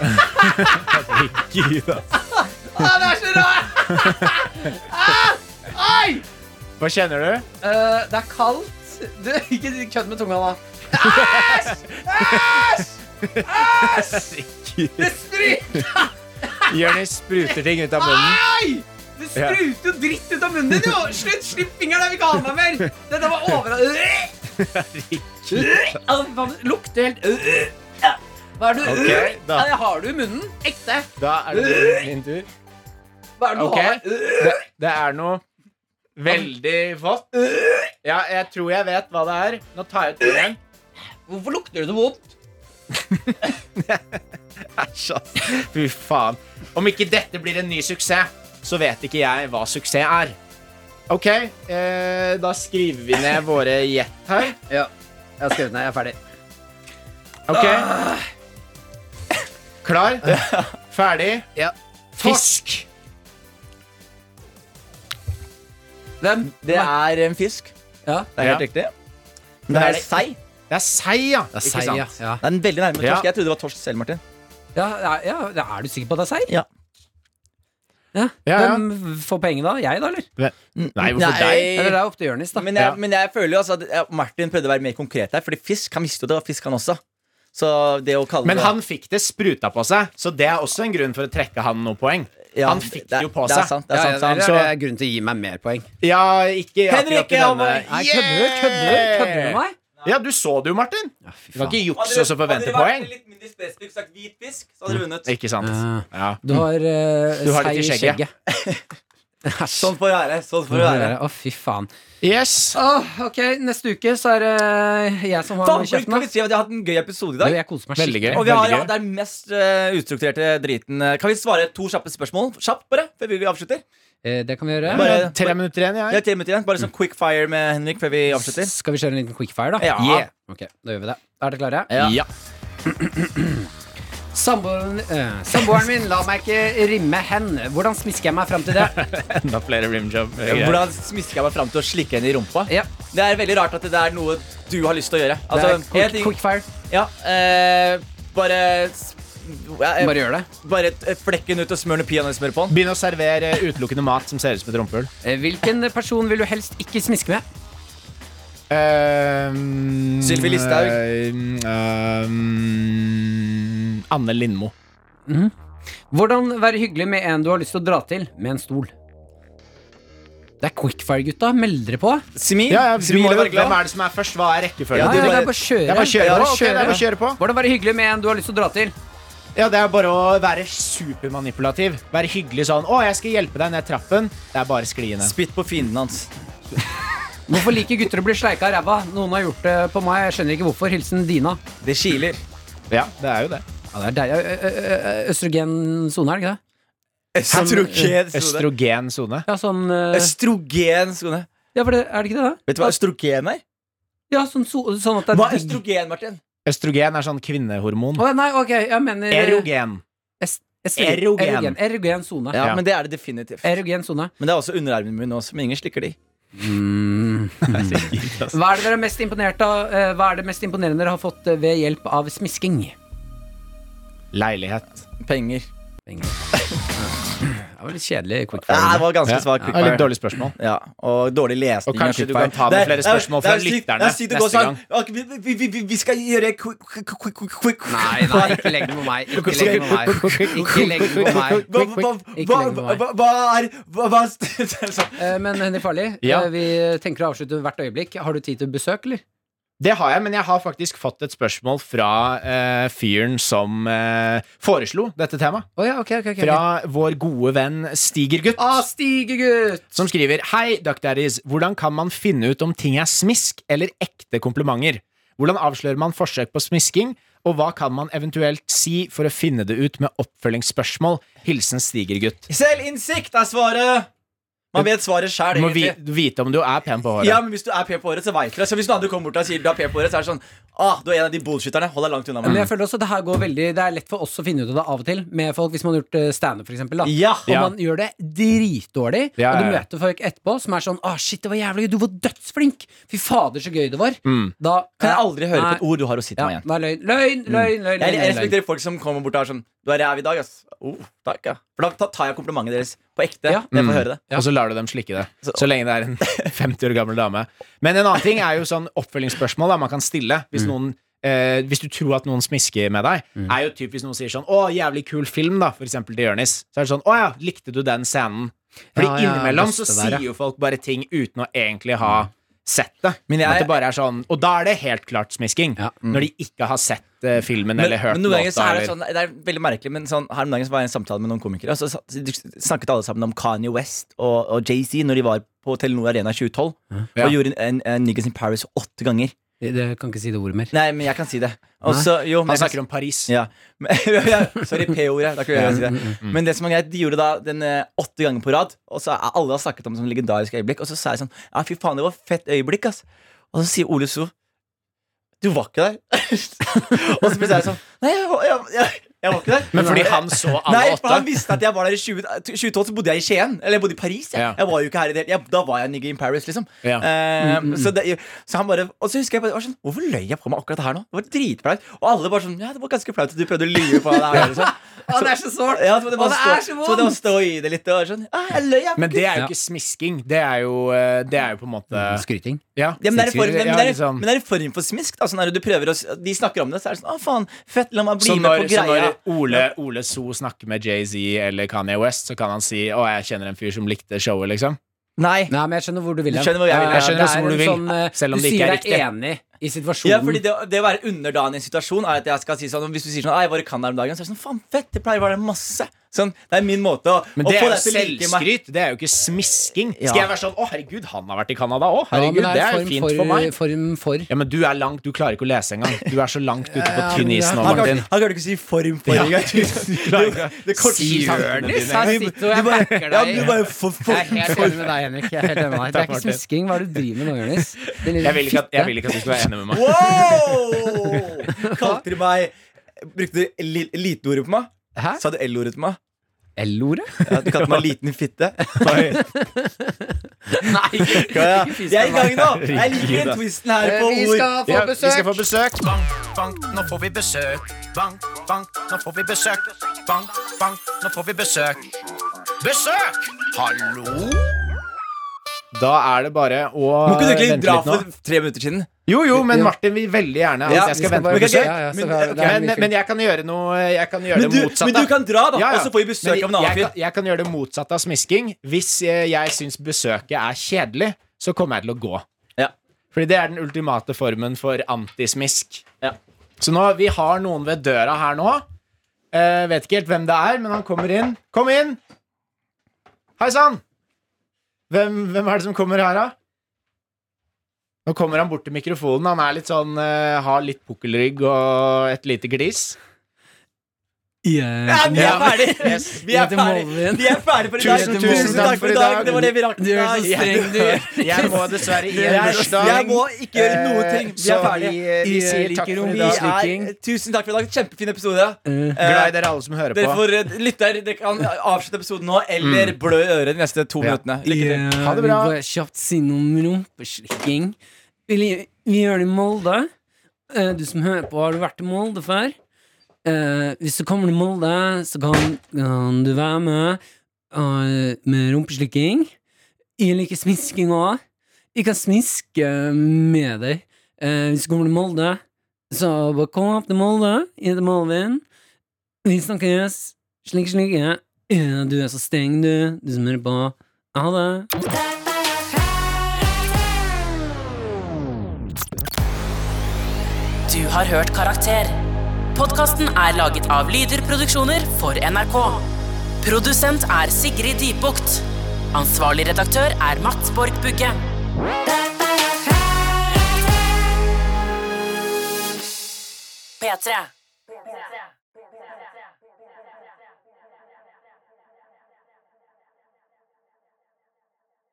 S4: Herregud, ass. Hva kjenner du?
S2: Eh, Det er kaldt du, Ikke kødd med tunga da
S4: Det spruter! Jonis spruter ting ut av
S2: Nei!
S4: munnen.
S2: Det
S4: Ja.
S2: spruter jo dritt ut av munnen din jo Slutt, slipp fingeren, jeg vil ikke ha den her mer Dette var overraskende Lukter helt Hva er du?
S4: Ok, da.
S2: Nei, Har du i munnen? Ekte
S4: Da er det min tur.
S2: Hva er det du
S4: Ok.
S2: har?
S4: Det, det er noe veldig vått. Ja, jeg tror jeg vet hva det er. Nå tar jeg ut fingeren.
S2: Hvorfor lukter det så vondt?
S4: Æsj, ass. Fy faen. Om ikke dette blir en ny suksess, så vet ikke jeg hva suksess er. OK, eh, da skriver vi ned våre gjett her.
S2: Ja, jeg har skrevet ned, jeg er ferdig
S4: OK. Klar, ferdig.
S2: Ja.
S4: Fisk.
S2: Hvem?
S3: Det er en fisk.
S2: Ja.
S3: Det er helt riktig. Men det
S4: er
S3: er
S4: det-
S3: sei.
S4: Det er sei, ja.
S2: Det er
S4: Ikke
S2: sei,
S4: sant?
S2: ja. ja.
S3: Det er en veldig nærme
S4: Ja.
S3: torsk. Jeg trodde det var torsk selv, Martin.
S2: Ja, er- ja, er du sikker på at det er sei?
S3: Ja.
S2: Ja.
S4: Ja, ja.
S2: Hvem får poenget da? Jeg, da, eller?
S4: Nei, hvorfor deg?
S2: Eller det er opp til Jonis, da.
S3: Men jeg,
S4: Ja.
S3: men jeg føler jo altså at ja, Martin prøvde å være mer konkret her, Fordi fisk, han visste jo det var fisk, han også. Så det å kalle
S4: Men
S3: det
S4: han fikk det spruta på seg, så det er også en grunn for å trekke han noe poeng.
S3: Ja,
S4: han fikk det jo på
S3: Det
S4: seg.
S3: er sant. det er sant, sant.
S2: det
S4: så-
S2: er grunn til å gi meg mer poeng.
S4: Ja, ikke akkurat
S3: Henrik,
S4: i
S3: jeg
S4: denne-
S3: var-
S2: Nei, kødder du? Kødder du? Kødder du med meg?
S4: Ja, du så det jo, Martin.
S2: Ja, fy
S4: Du kan ikke
S3: Hadde
S4: jukse
S3: dere-
S4: og så forvente
S3: hadde dere vært
S4: poeng. Mm.
S3: litt mindre spesifikk, sagt hvit fisk, så hadde dere vunnet.
S4: Ikke sant.
S2: Ja.
S4: Ja.
S2: Du har uh,
S4: Du har
S2: sei
S4: det
S2: i
S4: til skjegget.
S2: skjegget. Æsj.
S3: Sånn får det være. Sånn får det være.
S2: Å, fy faen.
S4: Yes.
S2: Åh, ok, neste uke så er det jeg som har
S3: Faen,
S2: noe i kjeften.
S3: kan
S2: da.
S3: vi si at jeg har hatt en gøy episode i
S2: Du,
S3: dag?
S2: Jeg koser meg
S4: Veldig
S2: skikkelig.
S4: gøy.
S3: Og vi har
S4: Veldig
S3: ja,
S4: gøy.
S3: det er mest eh, ustrukturerte driten. Eh, Kan vi svare to kjappe spørsmål? Kjapt, bare, før vi avslutter.
S2: Eh, Det kan vi gjøre.
S3: Bare-
S4: Tre minutter igjen,
S3: Det
S4: jeg.
S3: er ti minutter igjen. Bare sånn quick fire med Henrik før vi avslutter.
S2: Skal vi kjøre en liten quickfire, da?
S3: Ja.
S4: Yeah.
S2: Ok, da gjør vi det. Er dere klare?
S3: Ja.
S4: Ja.
S2: Samboeren, eh, samboeren min la meg ikke rimme hen. Hvordan smisker jeg meg fram til det?
S4: Enda flere rimjob. Hvordan-
S3: Hvordan smisker jeg meg fram til å slikke henne i rumpa?
S2: Ja,
S3: Det er veldig rart at det er noe du har lyst til å gjøre.
S2: det
S3: Altså,
S2: er quick,
S3: en ting-
S2: quickfire.
S3: Ja, eh, bare s- ja, eh,
S2: Bare
S3: Bare,
S2: gjør det.
S3: t- flekken ut og smør noe peanøttsmør på den.
S4: Begynn å servere utelukkende mat som ser ut som et rumpehull.
S2: Eh, Hvilken person vil du helst ikke smiske med?
S4: Um,
S3: Sylvi Listhaug.
S4: um, ehm, Anne Lindmo.
S2: Hvordan være hyggelig med en du har lyst til å dra til med en stol? Det er quickfire, gutta. Meld dere på.
S3: Simin,
S4: Ja, ja, du
S3: Simin
S4: må jo
S3: er veldig
S4: velge hvem
S3: glad.
S4: er det som er først. Hva er rekkefølgen?
S3: Ja,
S2: Nei,
S3: du
S2: det
S3: bare-
S2: er bare å kjøre.
S4: Jeg bare kjører,
S3: Ja,
S4: på.
S3: bare
S4: Ok, det er bare å kjøre på.
S2: Hvordan være hyggelig med en du har lyst til å dra til?
S4: Ja, Det er bare å være supermanipulativ. Være hyggelig sånn 'Å, jeg skal hjelpe deg ned trappen.' Det er bare skliende.
S3: Spytt på fienden hans.
S2: Hvorfor liker gutter å bli sleika i ræva? Noen har gjort det på meg. Jeg skjønner ikke hvorfor. Hilsen Dina.
S3: Det kiler.
S4: Ja, det er jo det.
S2: Ja, det er Eh, deilig. Ø- ø- ø- ø- Østrogensone, er det ikke det?
S4: Eh,
S3: Østrogen. sone.
S4: Østrogen sone.
S2: Ja, sånn ø,
S3: Østrogen sone.
S2: Ja, for det, er det ikke det? da?
S3: Vet du hva østrogen er?
S2: Ja, sånn, so, sånn at det
S3: Hva
S2: er
S3: er østrogen, Martin?
S4: Østrogen er sånn kvinnehormon.
S2: Å, nei, ok, jeg mener
S4: Erogen.
S2: Es- es-
S4: Erogen.
S2: Erogen. Erogen sone.
S3: Ja,
S4: Ja.
S3: men det er det definitivt.
S2: Erogen sone.
S3: Men det er også underarmen min også, men ingen slikker de.
S2: Hva er det dere er mest imponert av? eh, Hva er det mest imponerende dere har fått eh, ved hjelp av smisking?
S4: Leilighet.
S3: Penger.
S2: Det var litt kjedelig
S3: Ja,
S2: quickfire.
S3: det var ganske svak
S4: Det er litt
S3: quickfire.
S4: dårlig spørsmål.
S3: Ja, og dårlig lesning.
S4: Og kanskje
S3: av
S4: du kan
S3: quickfire.
S4: ta med
S3: Det er-
S4: flere
S3: det er-
S4: spørsmål
S3: det er
S4: fra
S3: sykt-
S4: lytterne
S3: det er sykt å gå
S4: neste
S3: sånn, «Ok, Vi, vi, vi- vi, vi skal gjøre quick, quick, quick, quick, quick.
S2: Nei, nei, ikke legg det på meg. Ikke legg det på meg. Ikke legg det på meg.
S3: Hva,
S2: Ikke
S3: hva,
S2: legg
S3: hva,
S2: det på
S3: hva,
S2: meg.
S3: hva, hva er hva, hva, sånn.
S2: Eh, Men Henrik Farli,
S4: Ja.
S2: eh, vi tenker å avslutte hvert øyeblikk. Har du tid til besøk, eller?
S4: Det har jeg, men jeg har faktisk fått et spørsmål fra eh, fyren som eh, foreslo dette temaet.
S2: Å ja, ok, ok. ok.
S4: Fra vår gode venn Stigergutt.
S2: Ah, Stigegutt!
S4: som skriver Hei, Duck Daddies. Hvordan kan man finne ut om ting er smisk eller ekte komplimenter? Hvordan avslører man forsøk på smisking, og hva kan man eventuelt si for å finne det ut med oppfølgingsspørsmål? Hilsen Stigergutt.
S3: Selvinnsikt er svaret! Man vet svaret sjæl,
S4: Du må vi
S3: egentlig.
S4: vite om du er pen på håret.
S3: Ja, men Hvis du er P på håret, så veit du det. Så Hvis noen andre kommer bort og sier du er P på håret, så er det sånn ah, du er en av de bullshitterne. Hold deg langt unna
S2: Men jeg
S3: meg.
S2: føler også det her går veldig Det er lett for oss å finne ut av det av og til med folk, hvis man har gjort eh, standup, for eksempel. Da.
S3: Ja.
S2: Og
S4: Ja.
S2: man gjør det dritdårlig,
S4: Ja,
S2: og
S4: ja,
S2: du
S4: ja.
S2: møter folk etterpå som er sånn 'Å, shit, det var jævlig gøy. Du var dødsflink. Fy fader, så gøy det var.'
S4: Mm.
S2: Da
S3: Kan jeg aldri høre på et
S2: Nei.
S3: ord du har å si til
S2: ja,
S3: meg igjen.
S2: da er løgn, løgn, løgn, løgn,
S3: Jeg,
S2: løgn,
S3: jeg
S2: løgn, løgn.
S3: respekterer folk som kommer bort og er sånn Du er ræv i dag, ass. Oh, takk, ja. For da ta- tar jeg komplimentet deres på ekte.
S2: Ja.
S4: Mm.
S3: Når jeg får høre det.
S4: Og så lar du dem slikke det. Så lenge det er en 50 år gammel dame. Men en annen ting er jo sånn oppfølgingsspørsmål da, man kan stille.
S2: Mm.
S4: Hvis, noen, eh, hvis du tror at noen smisker med deg, er jo typisk noen sier sånn 'Å, jævlig kul film', da, for eksempel til Jonis. Så er det sånn 'Å ja, likte du den scenen?' Fordi
S2: Ja, ja,
S4: innimellom så
S2: det der, ja.
S4: sier jo folk bare ting uten å egentlig
S2: Mm.
S4: ha sett det.
S3: Men jeg-
S4: at det bare er sånn, Og da er det helt klart smisking.
S2: Ja. Mm.
S4: Når de ikke har sett eh, filmen
S3: Men,
S4: eller hørt
S3: men noen ganger så er
S4: eller-
S3: det sånn Det er veldig merkelig, men sånn her om dagen så var jeg i en samtale med noen komikere, og så sa- de snakket alle sammen om Kanye West og, og Jay-Z når de var på Telenor Arena i 2012,
S4: Ja.
S3: og gjorde en, en Niggas in Paris åtte ganger.
S2: Det- det kan ikke si det ordet mer.
S3: Nei, men jeg kan si det. Og så- jo,
S4: Han
S3: men jeg kan
S4: snakker om Paris.
S3: Ja. Men- ja, Sorry, P-ordet. Da kan vi gjøre det. Men det som er greit, de gjorde da den eh, åtte ganger på rad, og så er alle har snakket om det som legendarisk øyeblikk, og så sa jeg sånn Ja, fy faen, det var fett øyeblikk, ass. Og så sier Ole So Du var ikke der. og så blir jeg sånn Nei, jeg, var- jeg, jeg, jeg var ikke der.
S4: Men fordi han så alle
S3: Nei,
S4: åtte.
S3: for han visste at jeg var der i 20, 2012, så bodde jeg i Skien. Eller jeg bodde i Paris. Jeg,
S4: Ja.
S3: jeg var jo ikke her i det hele jeg- Da var jeg nigga in Paris, liksom.
S4: Ja.
S3: Eh, Så, det, så han bare Og så husker jeg bare jeg var sånn, Hvorfor løy jeg på meg akkurat det her nå? Det var dritflaut. Og alle bare sånn Ja, det var ganske flaut at du prøvde å lyve på meg det her. Liksom.
S2: Å, det er så sårt!
S3: Ja, så måtte jeg
S2: Å,
S3: bare
S2: det er
S3: stå-
S2: så
S3: så
S2: vondt!
S3: måtte jeg stå i det litt og sånn Ja, jeg løy, jeg.
S4: Men det er
S2: Ja.
S4: jo ikke smisking. Det er jo, eh, det er jo på en måte
S2: Skryting.
S4: Ja,
S3: Ja, men det er i form, men,
S4: Ja,
S3: det er,
S4: liksom.
S3: men det er i form for smisk. Da, sånn når du prøver å, s- de snakker om det, så er det sånn Å, faen, fett, la meg bli
S4: så
S3: med på
S4: når, så
S3: greia.
S4: når Ole, Ole So snakker med Jay-Z eller Kanye West, så kan han si 'Å, jeg kjenner en fyr som likte showet', liksom.
S3: Nei.
S2: Nei, men jeg skjønner hvor du vil.
S3: Du skjønner hvor jeg vil.
S2: Ja, ja,
S3: Jeg
S4: skjønner
S2: det
S4: også
S2: er
S4: hvor
S2: en
S4: du vil,
S2: eh,
S4: selv om
S2: du
S4: det ikke er
S2: sier deg enig i situasjonen.
S3: Ja, fordi det, det å være underdanig i en situasjon er at jeg skal si sånn Hvis du sier sånn «Nei, Jeg var i Canada om dagen, så er det sånn Faen, fett! Det pleier å være masse. Sånn, Det er min måte å,
S4: Men
S3: å
S4: det
S3: få
S4: er jo
S3: deg til å like meg.
S4: selvskryt. Det er jo ikke smisking.
S3: Ja.
S4: Skal jeg være sånn 'Å, herregud, han har vært i Canada òg'.
S2: Ja, men
S4: Herregud, det er jo
S2: form
S4: fint for meg.
S2: Form for
S4: Ja, men du er langt, du klarer ikke å lese engang. Du er så langt ute på
S2: Ja,
S4: tynn
S2: men
S4: is
S2: jeg-
S4: nå,
S3: Han klarte
S4: Martin.
S3: han klarte ikke å si form for engang. Det
S4: Si
S3: kortskjønte
S4: Jonis,
S3: dine.
S2: her sitter og jeg
S3: Du bare-
S2: backer deg.
S3: Ja, men du bare for, for,
S2: Jeg er helt enig med deg, Henrik. Jeg er helt enig med deg. Det er ikke smisking. Hva er det du driver med nå, Jonis? Din lille
S4: Jeg vil, ikke at, jeg
S2: fitte.
S4: vil ikke at du skal være enig med meg.
S3: Wow! Kalte du meg Brukte du li, litenordet på meg?
S2: Hæ?
S3: Sa du L-ordet på meg?
S2: L-ordet?
S3: Ja, du kalte meg liten fitte?
S2: Nei, ikke,
S3: Ja, ja.
S2: ikke
S3: Jeg er i gang nå! Jeg liker den twisten her på
S2: Eh, Vi
S3: ord.
S2: skal få
S4: Ja, vi skal
S2: besøk.
S4: få besøk.
S5: Bank, bank, nå får vi besøk. Bank, bank, nå får vi besøk. Bank, bank, nå får vi besøk. Besøk! Hallo?
S4: Da er det bare å
S3: Må ikke du egentlig
S4: vente
S3: dra
S4: litt nå.
S3: for tre minutter siden?
S4: Jo, jo, men
S2: Jo.
S4: Martin vil veldig gjerne at
S3: Ja,
S2: vi
S4: jeg skal
S2: skal
S4: vente
S2: bare-
S4: på besøk.
S2: Ja, ja, så
S3: Men-
S2: det er-
S3: ok,
S2: det er mye
S4: Men,
S2: fint.
S4: men jeg kan gjøre noe Jeg kan gjøre
S3: Men du,
S4: det motsatte.
S3: men du kan dra,
S4: Ja,
S3: da!
S4: ja.
S3: Og så får vi
S4: Men
S3: besøk av en annen
S4: jeg,
S3: fyr.
S4: kan- jeg kan gjøre det motsatte av smisking. Hvis eh, jeg syns besøket er kjedelig, så kommer jeg til å gå.
S3: Ja.
S4: Fordi det er den ultimate formen for antismisk. Så nå, vi har noen ved døra her nå. Eh, vet ikke helt hvem det er, men han kommer inn. Kom inn! Hei sann! Hvem, hvem er det som kommer her, da? Nå kommer han bort til mikrofonen. Han er litt sånn, eh, har litt pukkelrygg og et lite glis.
S2: Ja,
S3: vi er ferdig!
S4: Yes.
S3: Vi er ferdig, vi er ferdig for i dag.
S4: Tusen, tusen takk for i dag.
S3: Det var det vi rakk.
S2: Du er så
S3: i dag.
S2: streng, du.
S4: Jeg må dessverre i en
S3: Jeg,
S4: bursdag.
S3: jeg må ikke gjøre noe
S4: Eh,
S3: ting. Vi er
S4: Så
S3: ferdige.
S4: Vi, eh, vi
S2: Vi
S4: sier
S2: liker
S4: takk for
S2: om
S4: i
S3: Vi
S4: dag. Eh,
S3: er, tusen takk for i dag. Kjempefin episode. Eh,
S4: Glad i dere alle som hører
S3: Dere
S4: på. Mm.
S3: får eh, lytter, dere kan avslutte episoden nå, eller blø i øret de neste to
S4: Ja.
S3: minuttene. Lykke til.
S2: Ja,
S4: Ha det bra.
S2: Eh, Vi bare kjapt si noe om rumpeslikking. Vi, li- vi gjør det i Molde. Eh, Du som hører på, har du vært i Molde før? Eh, hvis du kommer til Molde, så kan, kan du være med eh, med rumpeslikking. Jeg liker smisking òg. Jeg kan smiske med deg. Eh, hvis du kommer til Molde, så bare kom opp til Molde. Jeg heter Malvin. Vi snakkes. Slik, slik. ja. Eh, Du er så streng, du. Du som hører på. Ha det.
S8: Du har hørt Karakter. Podkasten er laget av Lyder Produksjoner for NRK. Produsent er Sigrid Dybukt. Ansvarlig redaktør er Matt Borg Bugge. P3.